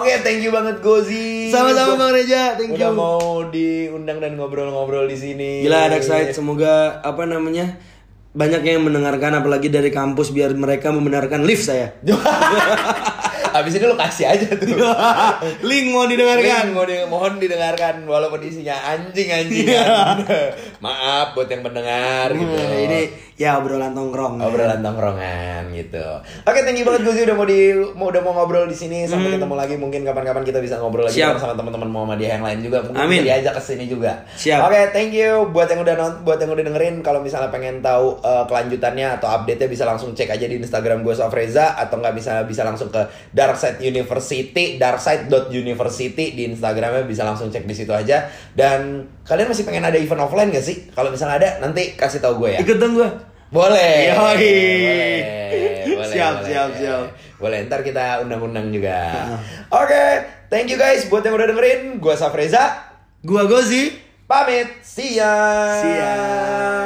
Speaker 2: oke thank you banget Gozi
Speaker 3: Sama-sama
Speaker 2: Gua-
Speaker 3: Bang Reja, thank you.
Speaker 2: udah mau diundang dan ngobrol-ngobrol di sini
Speaker 3: Gila ada
Speaker 2: [laughs]
Speaker 3: excited semoga apa namanya banyak yang mendengarkan apalagi dari kampus biar mereka membenarkan lift
Speaker 2: [laughs]
Speaker 3: saya.
Speaker 2: abis ini lo kasih aja tuh
Speaker 3: [laughs] Link mau didengarkan.
Speaker 2: Dengarkan, mohon, mohon didengarkan walaupun isinya anjing anjingan. [laughs] Maaf buat yang pendengar gitu.
Speaker 3: Hmm, Ini ya obrolan tongkrong.
Speaker 2: obrolan tongkrongan gitu. Oke, thank you banget Guzi udah mau di mau udah mau ngobrol di sini sampai ketemu lagi mungkin kapan-kapan kita bisa ngobrol lagi
Speaker 3: Hmm. Siap.
Speaker 2: sama teman-teman Muhammadiyah yang lain juga mungkin
Speaker 3: Amin.
Speaker 2: bisa diajak ke sini juga.
Speaker 3: Siap.
Speaker 2: Oke, thank you buat yang udah non- buat yang udah dengerin kalau misalnya pengen tahu eh, kelanjutannya atau update-nya bisa langsung cek aja di Instagram gue Sofreza atau nggak bisa bisa langsung ke Darkside University darkside.university di Instagramnya bisa langsung cek di situ aja dan kalian masih pengen ada event offline gak sih? Kalau misalnya ada nanti kasih tahu gue ya.
Speaker 3: Ikut dong gua.
Speaker 2: Boleh.
Speaker 3: Yoi.
Speaker 2: Boleh, boleh,
Speaker 3: Siap,
Speaker 2: boleh.
Speaker 3: siap, siap.
Speaker 2: Boleh, ntar kita undang-undang juga. Oke, thank you guys buat yang udah dengerin. Gua Safreza,
Speaker 3: Gua Gozi.
Speaker 2: pamit. See ya.
Speaker 3: See ya.